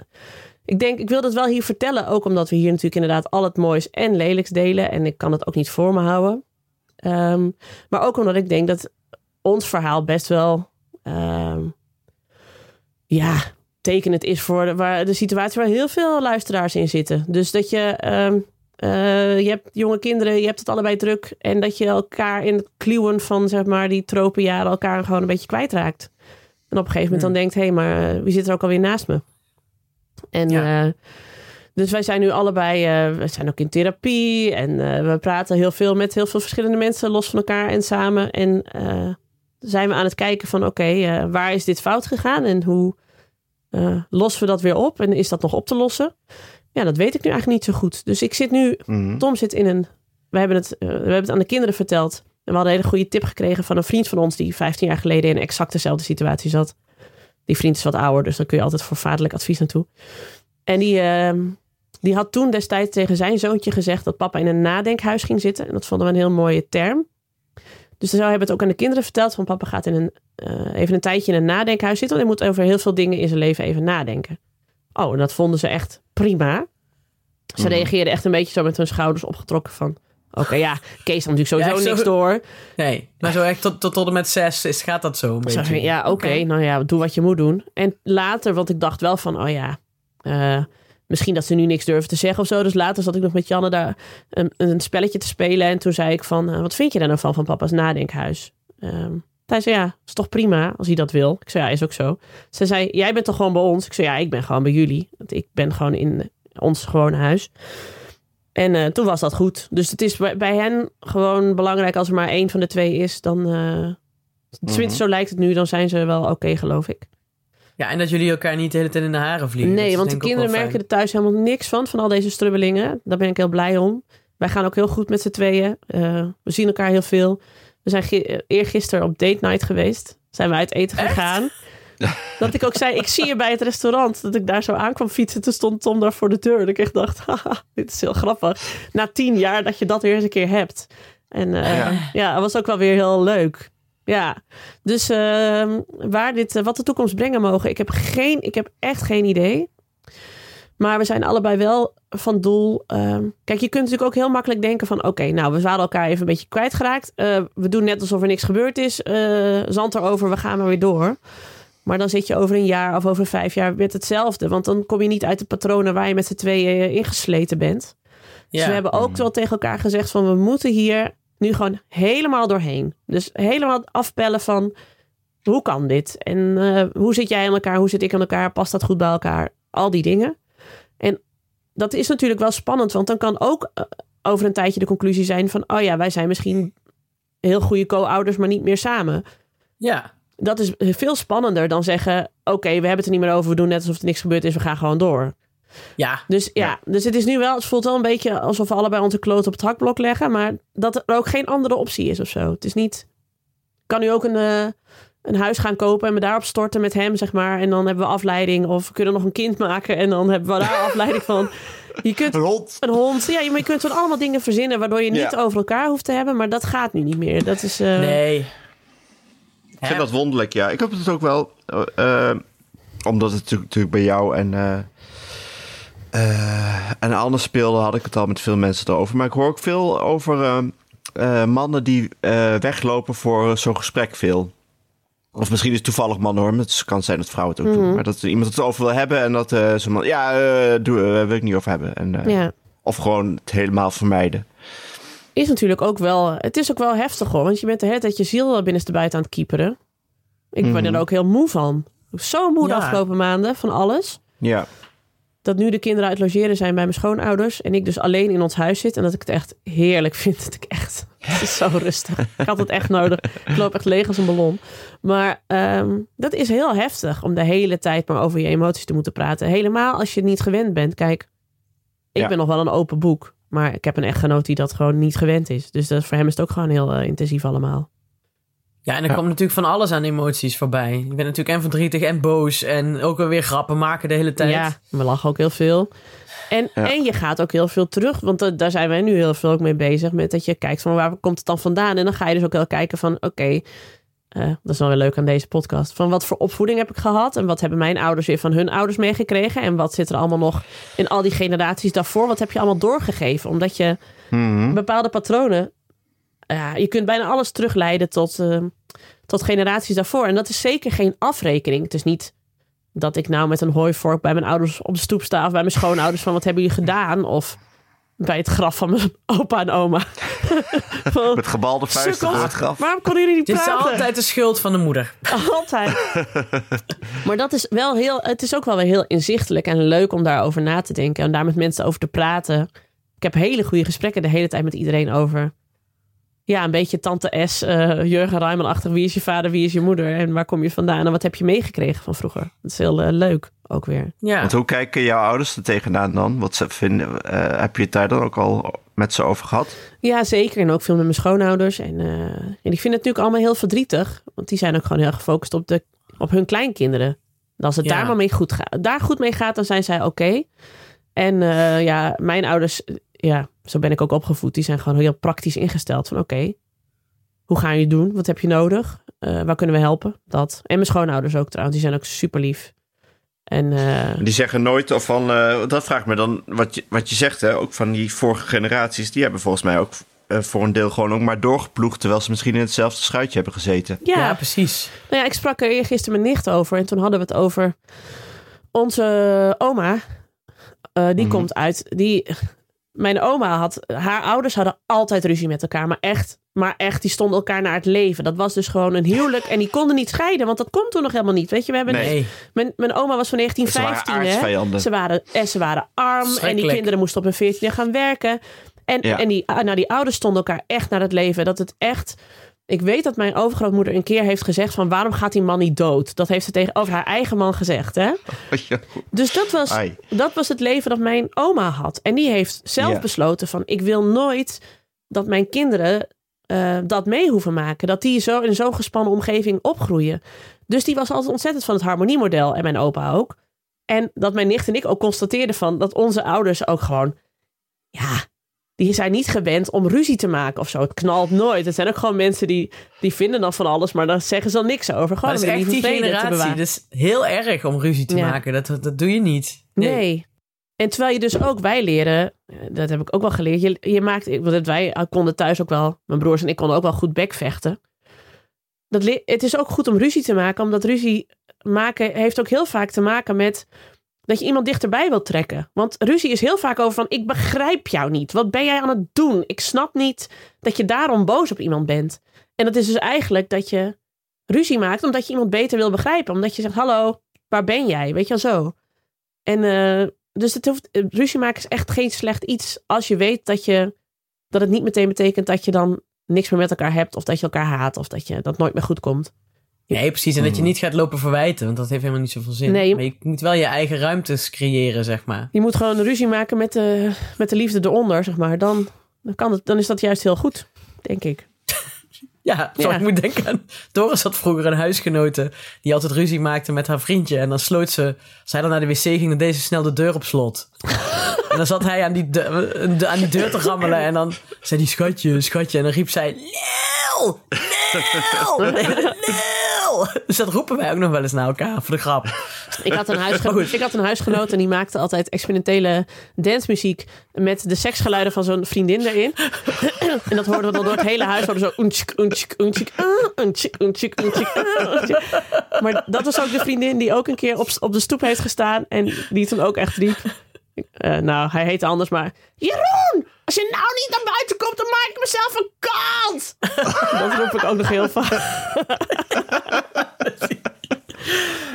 ik denk, ik wil dat wel hier vertellen. Ook omdat we hier natuurlijk inderdaad al het moois en lelijks delen. En ik kan het ook niet voor me houden. Ehm, maar ook omdat ik denk dat ons verhaal best wel... ehm, ja, tekenend is voor de, waar, de situatie waar heel veel luisteraars in zitten. Dus dat je... ehm, eh, je hebt jonge kinderen, je hebt het allebei druk. En dat je elkaar in het kluwen van zeg maar, die tropenjaren elkaar gewoon een beetje kwijtraakt. En op een gegeven moment dan denkt, hé, hey, maar eh, wie zit er ook alweer naast me? En
Ja.
eh, dus wij zijn nu allebei, eh, we zijn ook in therapie en eh, we praten heel veel met heel veel verschillende mensen los van elkaar en samen. En eh, zijn we aan het kijken van, oké, eh, waar is dit fout gegaan en hoe eh, lossen we dat weer op en is dat nog op te lossen? Ja, dat weet ik nu eigenlijk niet zo goed. Dus ik zit nu
Mhm.
Tom zit in een. We hebben, het, eh, we hebben het aan de kinderen verteld. En we hadden een hele goede tip gekregen van een vriend van ons. die 15 jaar geleden in exact dezelfde situatie zat. Die vriend is wat ouder, dus dan kun je altijd voor vaderlijk advies naartoe. En die, ehm, die had toen destijds tegen zijn zoontje gezegd. dat papa in een nadenkhuis ging zitten. En dat vonden we een heel mooie term. Dus zo hebben we het ook aan de kinderen verteld. van papa gaat in een, eh, even een tijdje in een nadenkhuis zitten. want hij moet over heel veel dingen in zijn leven even nadenken. Oh, en dat vonden ze echt prima.
Mhm.
Ze reageerden echt een beetje zo met hun schouders opgetrokken van... Oké, ja, Kees had natuurlijk sowieso
Ja, ik zou-
niks door.
Nee, maar zo echt tot, tot, tot en met zes is, gaat dat zo een
Zo
beetje.
van, ja, oké,
Oké.
nou ja, doe wat je moet doen. En later, want ik dacht wel van, oh ja, eh, misschien dat ze nu niks durven te zeggen of zo. Dus later zat ik nog met Janne daar een, een spelletje te spelen. En toen zei ik van, eh, wat vind je daar nou van, van papa's nadenkhuis? Ehm, hij zei, ja, is toch prima als hij dat wil? Ik zei, ja, is ook zo. Ze zei, jij bent toch gewoon bij ons? Ik zei, ja, ik ben gewoon bij jullie. Want ik ben gewoon in ons gewone huis. En eh, toen was dat goed. Dus het is bij, bij hen gewoon belangrijk als er maar één van de twee is, dan... eh, Tenminste,
Mhm.
zo lijkt het nu, dan zijn ze wel oké, geloof ik.
Ja, en dat jullie elkaar niet de hele tijd in de haren vliegen. Dat
nee,
is
want de
denk ik ook
kinderen
wel
merken
fijn.
er thuis helemaal niks van, van al deze strubbelingen. Daar ben ik heel blij om. Wij gaan ook heel goed met z'n tweeën. Eh, we zien elkaar heel veel. We zijn gi- eh, eergisteren op date night geweest. Zijn we uit eten gegaan. Dat ik ook zei, ik zie je bij het restaurant. Dat ik daar zo aankwam fietsen. Toen stond Tom daar voor de deur. Dat ik echt dacht, haha, dit is heel grappig. Na tien jaar dat je dat weer eens een keer hebt. En eh, ja.
Ja.
dat was ook wel weer heel leuk. Ja, dus ehm, waar dit, eh, wat de toekomst brengen mogen, ik heb, geen, ik heb echt geen idee. Maar we zijn allebei wel van doel. ehm, kijk, je kunt natuurlijk ook heel makkelijk denken van... oké, nou, we waren elkaar even een beetje kwijtgeraakt. Eh, we doen net alsof er niks gebeurd is. Eh, zand erover, we gaan maar weer door. Maar dan zit je over een jaar of over vijf jaar met hetzelfde. Want dan kom je niet uit de patronen waar je met z'n tweeën eh, ingesleten bent.
Ja.
Dus we hebben ook wel tegen elkaar gezegd van we moeten hier nu gewoon helemaal doorheen. Dus helemaal afbellen van hoe kan dit? En eh, hoe zit jij aan elkaar? Hoe zit ik aan elkaar? Past dat goed bij elkaar? Al die dingen. En dat is natuurlijk wel spannend, want dan kan ook eh, over een tijdje de conclusie zijn van oh ja, wij zijn misschien heel goede co-ouders, maar niet meer samen.
Ja.
Dat is veel spannender dan zeggen oké, we hebben het er niet meer over, we doen net alsof er niks gebeurd is, we gaan gewoon door.
Ja.
Dus ja, dus het is nu wel, het voelt wel een beetje alsof we allebei onze kloot op het hakblok leggen, maar dat er ook geen andere optie is of zo. Het is niet, kan nu ook een, eh, een huis gaan kopen en me daarop storten met hem, zeg maar. En dan hebben we afleiding. Of we kunnen nog een kind maken en dan hebben we daar afleiding van. Je kunt
Een hond.
een hond. Ja, je, maar je kunt van allemaal dingen verzinnen waardoor je niet
Ja.
over elkaar hoeft te hebben. Maar dat gaat nu niet meer. Dat is. eh,
Nee.
Ik vind dat wonderlijk, ja. Ik heb het ook wel... eh, eh, omdat het natuurlijk- natuurlijk bij jou en... eh eh, en anders speelde, had ik het al met veel mensen erover. Maar ik hoor ook veel over eh, eh, mannen die eh, weglopen voor zo'n gesprek veel. Of misschien is het toevallig man hoor. maar Het kan zijn dat vrouwen het ook doen. Maar dat er iemand het over wil hebben en dat eh zo'n man... Ja, eh doe, eh, wil ik niet over hebben. En, eh,
Ja.
Of gewoon het helemaal vermijden.
Is natuurlijk ook wel. Het is ook wel heftig hoor. Want je bent de hele tijd je ziel wel binnenstebuiten aan het kieperen. Ik ben er ook heel moe van. Ik was Zo moe de
Ja.
afgelopen maanden van alles.
Ja.
Dat nu de kinderen uit logeren zijn bij mijn schoonouders. En ik dus alleen in ons huis zit. En dat ik het echt heerlijk vind. Dat ik echt. Het is zo rustig. Ik had het echt nodig. Ik loop echt leeg als een ballon. Maar ehm, dat is heel heftig. Om de hele tijd maar over je emoties te moeten praten. Helemaal als je niet gewend bent. Kijk, ik
Ja.
ben nog wel een open boek. Maar ik heb een echtgenoot die dat gewoon niet gewend is. Dus dat, voor hem is het ook gewoon heel eh, intensief allemaal.
Ja, en er komt natuurlijk van alles aan emoties voorbij. Ik ben natuurlijk en verdrietig en boos en ook weer grappen maken de hele tijd.
Ja, we lachen ook heel veel. En,
Ja.
en je gaat ook heel veel terug. Want da- daar zijn wij nu heel veel ook mee bezig. Met dat je kijkt van waar komt het dan vandaan? En dan ga je dus ook wel kijken van oké. eh, dat is wel weer leuk aan deze podcast. Van wat voor opvoeding heb ik gehad? En wat hebben mijn ouders weer van hun ouders meegekregen? En wat zit er allemaal nog in al die generaties daarvoor? Wat heb je allemaal doorgegeven? Omdat je bepaalde patronen. Ja, je kunt bijna alles terugleiden tot, eh, tot generaties daarvoor. En dat is zeker geen afrekening. Het is niet dat ik nou met een hooivork bij mijn ouders op de stoep sta. Of bij mijn schoonouders van wat hebben jullie gedaan? Of bij het graf van mijn opa en oma. Van,
Met gebalde vuisten
"Sukkels,
voor het graf.
waarom konden jullie niet
Dit is
praten?
altijd de schuld van de moeder.
Altijd. maar dat is wel heel, het is ook wel weer heel inzichtelijk en leuk om daarover na te denken. En daar met mensen over te praten. Ik heb hele goede gesprekken de hele tijd met iedereen over. Ja, een beetje tante S, eh Jurgen Rijman-achtig. Wie is je vader, wie is je moeder en waar kom je vandaan? En wat heb je meegekregen van vroeger? Dat is heel eh, leuk ook weer.
Ja.
Want hoe kijken jouw ouders er tegenaan dan? Wat ze vinden, eh, heb je het daar dan ook al met ze over gehad?
Ja, zeker. En ook veel met mijn schoonouders. En, eh, en ik vind het natuurlijk allemaal heel verdrietig. Want die zijn ook gewoon heel gefocust op, de, op hun kleinkinderen. En als het
Ja.
daar maar mee goed, ga, daar goed mee gaat, dan zijn zij oké. En eh, ja, mijn ouders, eh, ja, zo ben ik ook opgevoed. Die zijn gewoon heel praktisch ingesteld. Van oké, hoe gaan jullie het doen? Wat heb je nodig? Eh, waar kunnen we helpen? Dat. En mijn schoonouders ook trouwens. Die zijn ook super lief. En eh,
Die zeggen nooit of van, eh, dat vraagt me dan wat je, wat je zegt, hè? ook van die vorige generaties, die hebben volgens mij ook eh, voor een deel gewoon ook maar doorgeploegd, terwijl ze misschien in hetzelfde schuitje hebben gezeten.
Ja.
ja,
precies.
Nou ja, ik sprak er gisteren mijn nicht over. En toen hadden we het over onze oma. Eh, die
Mhm.
komt uit. Die, mijn oma had. Haar ouders hadden altijd ruzie met elkaar. Maar echt, maar echt, die stonden elkaar naar het leven. Dat was dus gewoon een huwelijk. En die konden niet scheiden, want dat kon toen nog helemaal niet. Weet je, we hebben.
Nee.
Nee.
Mijn, mijn oma was van
Ze waren
1915. hè?
aardsvijanden.
Ze waren, en ze waren arm en die
Schrikkelijk.
kinderen moesten op hun veertien gaan werken. En,
Ja.
en die, nou, die ouders stonden elkaar echt naar het leven. Dat het echt... Ik weet dat mijn overgrootmoeder een keer heeft gezegd van... waarom gaat die man niet dood? Dat heeft ze tegenover haar eigen man gezegd, hè? Dus dat was,
Ai.
dat was het leven dat mijn oma had. En die heeft zelf
Ja.
besloten van... ik wil nooit dat mijn kinderen eh, dat mee hoeven maken. Dat die zo in zo'n gespannen omgeving opgroeien. Dus die was altijd ontzettend van het harmoniemodel. En mijn opa ook. En dat mijn nicht en ik ook constateerden van... dat onze ouders ook gewoon... ja, die zijn niet gewend om ruzie te maken of zo. Het knalt nooit. Het zijn ook gewoon mensen die, die vinden dan van alles... maar daar zeggen ze dan niks over.
Maar
Gewoon
dat
om
is echt
lieve
die
vrede te bewaren.
generatie. Dat is heel erg om ruzie te
Ja.
maken. Dat, dat doe je niet.
Nee. En terwijl je dus ook, wij leren, eh, dat heb ik ook wel geleerd, je, je maakt, ik- want wij eh, konden thuis ook wel, mijn broers en ik konden ook wel goed bekvechten. Dat le- het is ook goed om ruzie te maken, omdat ruzie maken heeft ook heel vaak te maken met dat je iemand dichterbij wilt trekken. Want ruzie is heel vaak over van, ik begrijp jou niet. Wat ben jij aan het doen? Ik snap niet dat je daarom boos op iemand bent. En dat is dus eigenlijk dat je ruzie maakt omdat je iemand beter wil begrijpen. Omdat je zegt, hallo, waar ben jij? Weet je wel zo. En eh, dus het hoeft, eh, ruzie maken is echt geen slecht iets als je weet dat, je, dat het niet meteen betekent dat je dan niks meer met elkaar hebt of dat je elkaar haat of dat je dat nooit meer goed komt.
Nee, precies. En dat je niet gaat lopen verwijten, want dat heeft helemaal niet zoveel zin.
Nee, je-
Maar je moet wel je eigen ruimtes creëren, zeg maar.
Je moet gewoon ruzie maken met de, met de liefde eronder, zeg maar. Dan, dan, kan het, dan is dat juist heel goed, denk ik.
Ja, zo
Ja.
ik moet denken aan... Doris had vroeger een huisgenote die altijd ruzie maakte met haar vriendje. En dan sloot ze... Als hij dan naar de wc ging, dan deed ze snel de deur op slot. en dan zat hij aan die, de- de- aan die deur te rammelen. En dan zei hij, schatje, schatje. En dan riep zij, Leel! Leel! Leel! Dus dat roepen wij ook nog wel eens naar elkaar, voor de grap.
Ik had, een huisgenoot,
Goed.
ik had een huisgenoot en die maakte altijd experimentele dancemuziek met de seksgeluiden van zo'n vriendin erin. en dat hoorden we dan door het hele huis. Hoorden we zo unchik, unchik, unchik, ah, unchik, unchik, unchik, ah, unchik. Maar dat was ook de vriendin die ook een keer op, op de stoep heeft gestaan en die toen ook echt riep. eh, nou, hij heette anders, maar Jeroen, als je nou niet naar buiten komt, dan maak ik mezelf een kant. dat roep ik ook nog heel vaak.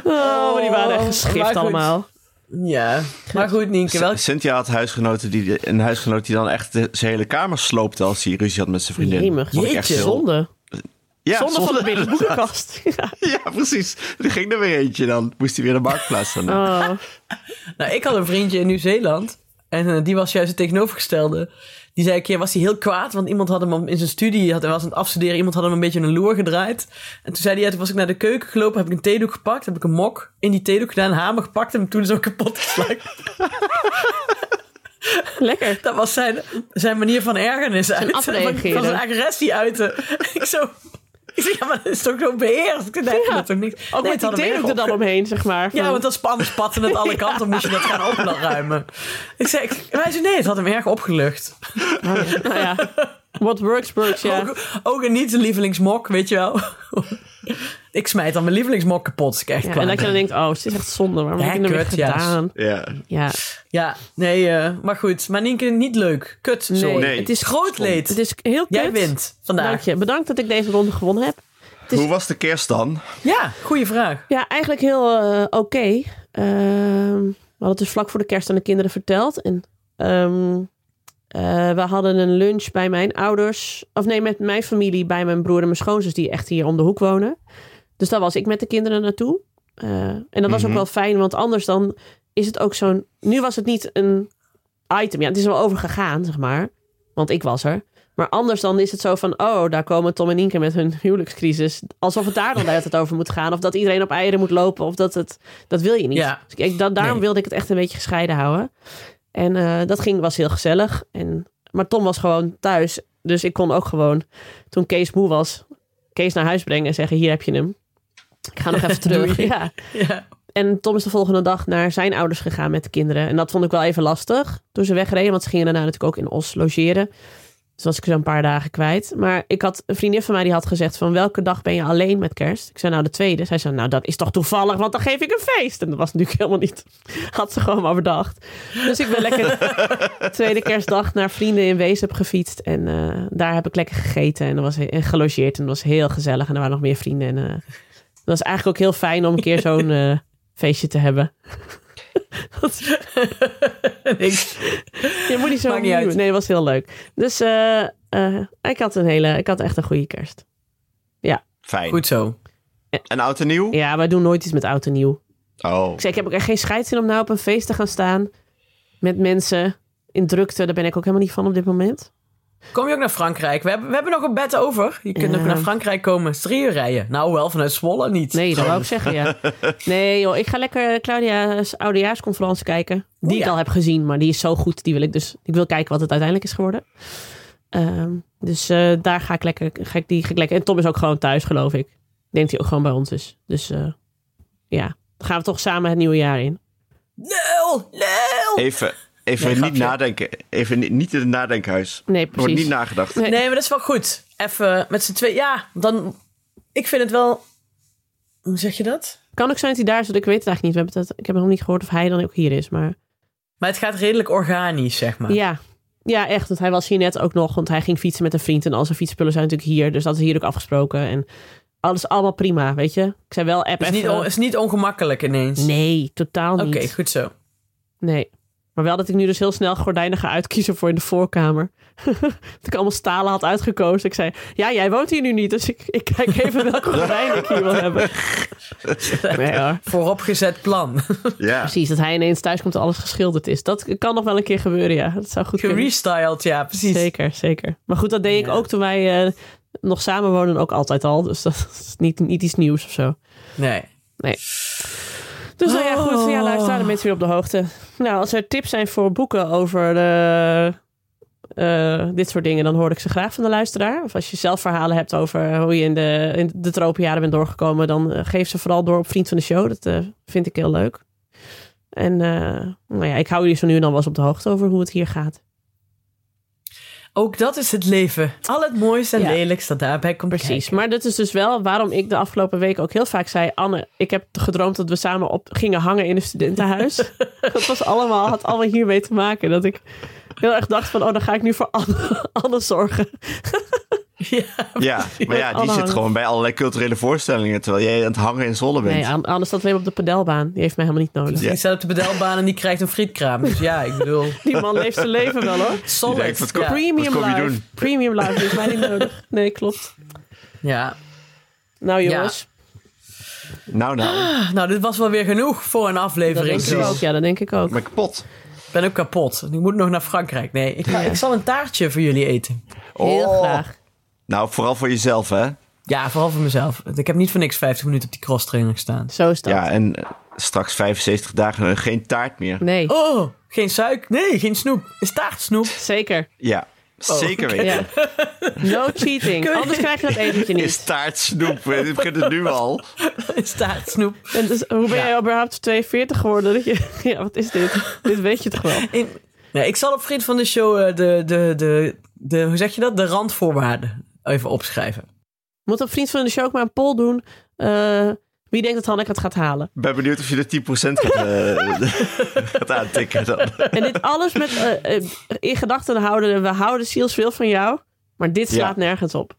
Oh, maar die waren echt
Maar
geschift
goed.
allemaal.
Ja, maar goed Nienke, welk...
Cynthia had huisgenoten die, een huisgenoot die dan echt de, zijn hele kamer sloopte als hij ruzie had met zijn vriendin.
Jemig.
Vond ik echt
Jeetje.
heel-
Zonde.
Ja,
Zonde, van de
zonde.
binnenboekenkast. ja.
Ja, precies. Er ging er weer eentje dan. Moest hij weer de marktplaats gaan doen.
Oh.
Nou, ik had een vriendje in Nieuw-Zeeland. En eh, die was juist het tegenovergestelde. Die zei een keer, was hij heel kwaad. Want iemand had hem in zijn studie, had, hij was aan het afstuderen. Iemand had hem een beetje een loer gedraaid. En toen zei hij, ja, toen was ik naar de keuken gelopen. Heb ik een theedoek gepakt. Heb ik een mok in die theedoek gedaan. Een hamer gepakt. En hem toen zo kapot geslagen.
Lekker.
Dat was zijn, zijn manier van ergernis uiten. Van, van
afreageren.
zijn agressie uiten. ik zo... Ik zeg, ja, maar dat is toch zo beheerst? Ik denk,
Ja.
dat toch niks.
Ook
Nee, het
met die
hadden we
theedoek er dan
opge-
omheen, zeg maar.
Ja,
Van-
want dat spannend spatten het alle kanten, moest je dat gaan opruimen. Ik zei, ik- wij zeiden nee, het had hem erg opgelucht.
nou ja. What works, works, ja.
Ook, ook een niet-lievelingsmok, weet je wel. ik smijt dan mijn lievelingsmok kapot, als ik echt
Ja,
kwaad
en dat je
ben.
dan denkt, oh, het is echt zonde. Waarom
Ja,
heb ik het nou
kut,
weer
ja.
gedaan?
Ja.
Ja.
Ja, nee, eh, maar goed. Maar Nienke, niet leuk. Kut, sorry.
Nee.
Het is groot leed.
Het is heel kut.
Jij wint vandaag.
Dank je. Bedankt dat ik deze ronde gewonnen heb. is-
Hoe was de kerst dan?
Ja, goede vraag.
Ja, eigenlijk heel eh, oké. Ehm, we hadden het dus vlak voor de kerst aan de kinderen verteld. En ehm, eh, we hadden een lunch bij mijn ouders. Of nee, met mijn familie, bij mijn broer en mijn schoonzus, die echt hier om de hoek wonen. Dus daar was ik met de kinderen naartoe. Eh, en dat was ook wel fijn, want anders dan is het ook zo'n. Nu was het niet een item. Ja, het is wel overgegaan, zeg maar. Want ik was er. Maar anders dan is het zo van, oh, daar komen Tom en Inke met hun huwelijkscrisis. Alsof het daar dan uit het over moet gaan. Of dat iedereen op eieren moet lopen. Of dat het, dat wil je niet.
Ja.
Dus ik, ik- da- daarom
Nee.
wilde ik het echt een beetje gescheiden houden. En eh, dat ging, was heel gezellig. En, maar Tom was gewoon thuis. Dus ik kon ook gewoon, toen Kees moe was, Kees naar huis brengen en zeggen, hier heb je hem. Ik ga nog even terug.
Doei.
Ja.
Ja.
En Tom is de volgende dag naar zijn ouders gegaan met de kinderen. En dat vond ik wel even lastig toen ze wegreden. Want ze gingen daarna natuurlijk ook in Os logeren. Dus was ik zo een paar dagen kwijt. Maar ik had een vriendin van mij die had gezegd van... welke dag ben je alleen met kerst? Ik zei nou de tweede. Zij zei nou dat is toch toevallig, want dan geef ik een feest. En dat was natuurlijk helemaal niet... Had ze gewoon maar bedacht. Dus ik ben lekker de tweede kerstdag naar vrienden in Wees heb gefietst. En eh, daar heb ik lekker gegeten en, dat was, en gelogeerd. En dat was heel gezellig. En er waren nog meer vrienden. En eh, dat was eigenlijk ook heel fijn om een keer zo'n... eh, feestje te hebben.
Ik-
Je moet niet zo
Maakt niet
opnieuw.
uit.
Nee, was heel leuk. Dus eh, eh, ik had een hele, ik had echt een goede kerst.
Fijn.
goed zo.
En oud en nieuw?
Ja, wij doen nooit iets met oud en nieuw.
Oh.
Ik zei, ik heb ook echt geen scheidszin om nou op een feest te gaan staan met mensen in drukte. Daar ben ik ook helemaal niet van op dit moment.
Kom je ook naar Frankrijk? We hebben, we hebben nog een bed over. Je kunt
Ja.
ook naar Frankrijk komen. Het is Drie uur rijden. Nou, wel vanuit Zwolle niet.
Nee, dat wou ik zeggen, ja. Nee, joh, ik ga lekker Claudia's oudejaarsconferentie kijken. Die
Oeh,
ik
ja.
al heb gezien, maar die is zo goed. Die wil ik dus, ik wil kijken wat het uiteindelijk is geworden. Ehm, dus eh, daar ga ik lekker, ga ik, die ga ik lekker. En Tom is ook gewoon thuis, geloof ik. Ik denk dat hij ook gewoon bij ons is. Dus eh, ja, dan gaan we toch samen het nieuwe jaar in.
Lul, lul.
Even, even
Nee,
niet
grapje.
nadenken. Even ni- niet in het nadenkhuis.
Nee,
Er wordt
precies.
niet nagedacht.
Nee.
Nee, maar dat is wel goed. Even met z'n twee. Ja, dan. Ik vind het wel. Hoe zeg je dat?
Kan ook zijn dat hij daar is, want ik weet het eigenlijk niet. We hebben het, ik heb nog niet gehoord of hij dan ook hier is, maar...
Maar het gaat redelijk organisch, zeg maar.
Ja. ja, echt. Want hij was hier net ook nog. Want hij ging fietsen met een vriend. En al zijn fietsspullen zijn natuurlijk hier. Dus dat is hier ook afgesproken. En alles allemaal prima, weet je. Ik zei wel
Het
app
is Dus niet,
even.
on- is niet ongemakkelijk ineens.
Nee, totaal
Oké,
niet.
goed zo.
Nee. Maar wel dat ik nu dus heel snel gordijnen ga uitkiezen voor in de voorkamer. dat ik allemaal stalen had uitgekozen. Ik zei, ja, jij woont hier nu niet. Dus ik, ik kijk even welke gordijnen ik hier wil hebben. Nee hoor.
Vooropgezet plan.
Ja.
Precies, dat hij ineens thuis komt en alles geschilderd is. Dat kan nog wel een keer gebeuren, ja. Dat zou goed kunnen.
Gerestyled, ja, precies.
Zeker, zeker. Maar goed, dat deed ik
Ja.
ook toen wij eh, nog samenwonen ook altijd al. Dus dat is niet, niet iets nieuws of zo.
Nee.
Dus nou ja, goed. Ja,
Oh.
luisteren de mensen weer op de hoogte. Nou, als er tips zijn voor boeken over eh, eh, dit soort dingen, dan hoor ik ze graag van de luisteraar. Of als je zelf verhalen hebt over hoe je in de, in de tropenjaren bent doorgekomen, dan eh, geef ze vooral door op Vriend van de Show. Dat eh, vind ik heel leuk. En eh, nou ja, ik hou jullie zo nu en dan wel eens op de hoogte over hoe het hier gaat.
Ook dat is het leven. Al het moois en
Ja.
lelijkst dat daarbij komt
Precies,
kijken.
maar dat is dus wel waarom ik de afgelopen week ook heel vaak zei... Anne, ik heb gedroomd dat we samen op gingen hangen in een studentenhuis. dat was allemaal, had allemaal hiermee te maken. Dat ik heel erg dacht van, oh, dan ga ik nu voor Anne, Anne zorgen.
Ja.
Ja, maar ja, die
Alle
zit
hangen.
gewoon bij allerlei culturele voorstellingen terwijl jij aan het hangen in Zwolle bent.
Nee, Anne, Anne staat alleen op de padelbaan. Die heeft mij helemaal niet nodig.
Ja.
Die staat op de bedelbaan en die krijgt een frietkraam. Dus ja, ik bedoel,
Die man leeft zijn leven wel, hoor.
solid.
denkt, wat
ja.
Premium
kom je
life.
doen?
Premium life, die heeft mij niet nodig. Nee, klopt.
ja.
Nou, jongens.
Nou, nou,
Nou, dit was wel weer genoeg voor een
Dat
aflevering.
denk ik ook, ja, dat denk ik ook.
ik ben kapot.
Ik ben ook kapot. Ik moet nog naar Frankrijk. Nee, ik, ga- ik zal een taartje voor jullie eten.
Heel
Oh.
graag.
Nou, vooral voor jezelf, hè?
Ja, vooral voor mezelf. Ik heb niet voor niks 50 minuten op die crosstrainer gestaan.
Zo is dat.
Ja, en eh, straks 75 dagen eh, geen taart meer.
Nee,
Oh, geen suik. Nee, geen snoep. Is taartsnoep.
zeker.
Ja, zeker weten.
Oh. Ja. No cheating.
Kun je-
Anders krijg je dat etentje niet.
Is taart snoep? Dit begint het nu al.
Is taartsnoep.
En dus, hoe ben
Ja.
jij überhaupt 42 geworden? Dat je, ja, wat is dit? dit weet je toch wel?
In- Nee, ik zal op vriend van de show eh, de, de, de, de, hoe zeg je dat? De randvoorwaarden even opschrijven.
Moet op Vriend van de Show ook maar een poll doen. eh, wie denkt dat Hanneke het gaat halen?
Ik ben benieuwd of je de 10% gaat, eh, gaat aantikken dan.
En dit alles met eh, eh, in gedachten houden. We houden zielsveel van jou. Maar dit slaat nergens op.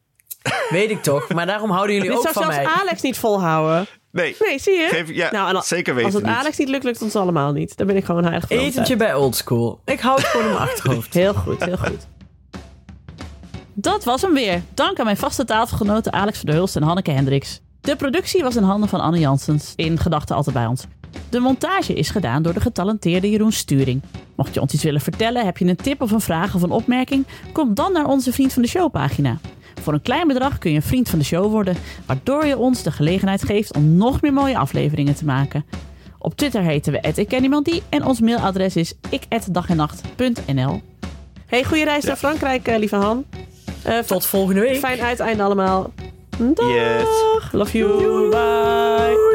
Weet ik toch, maar daarom houden jullie
dit
ook
zou
van
zelfs
mij.
Alex niet volhouden.
Nee,
Nee, zie je?
Geef- ja,
Nou, en al-
zeker weten
Als het
niet.
Alex niet lukt, lukt het ons allemaal niet. Daar ben ik gewoon heilig van
Etentje
overtuigd.
bij oldschool. Ik hou het gewoon in mijn achterhoofd.
Heel goed, heel goed.
Dat was hem weer. Dank aan mijn vaste tafelgenoten Alex van der Hulst en Hanneke Hendricks. De productie was in handen van Anne Janssens, in gedachten altijd bij ons. De montage is gedaan door de getalenteerde Jeroen Sturing. Mocht je ons iets willen vertellen, heb je een tip of een vraag of een opmerking, kom dan naar onze Vriend van de Show pagina. Voor een klein bedrag kun je een vriend van de show worden, waardoor je ons de gelegenheid geeft om nog meer mooie afleveringen te maken. Op Twitter heten we @ikkenniemandie en ons mailadres is ik@dagennacht.nl.
Hey, goede reis naar Frankrijk, eh, lieve Han. Eh,
Tot volgende week.
Fijn uiteinde allemaal. Dag.
Yes.
Love you. Bye.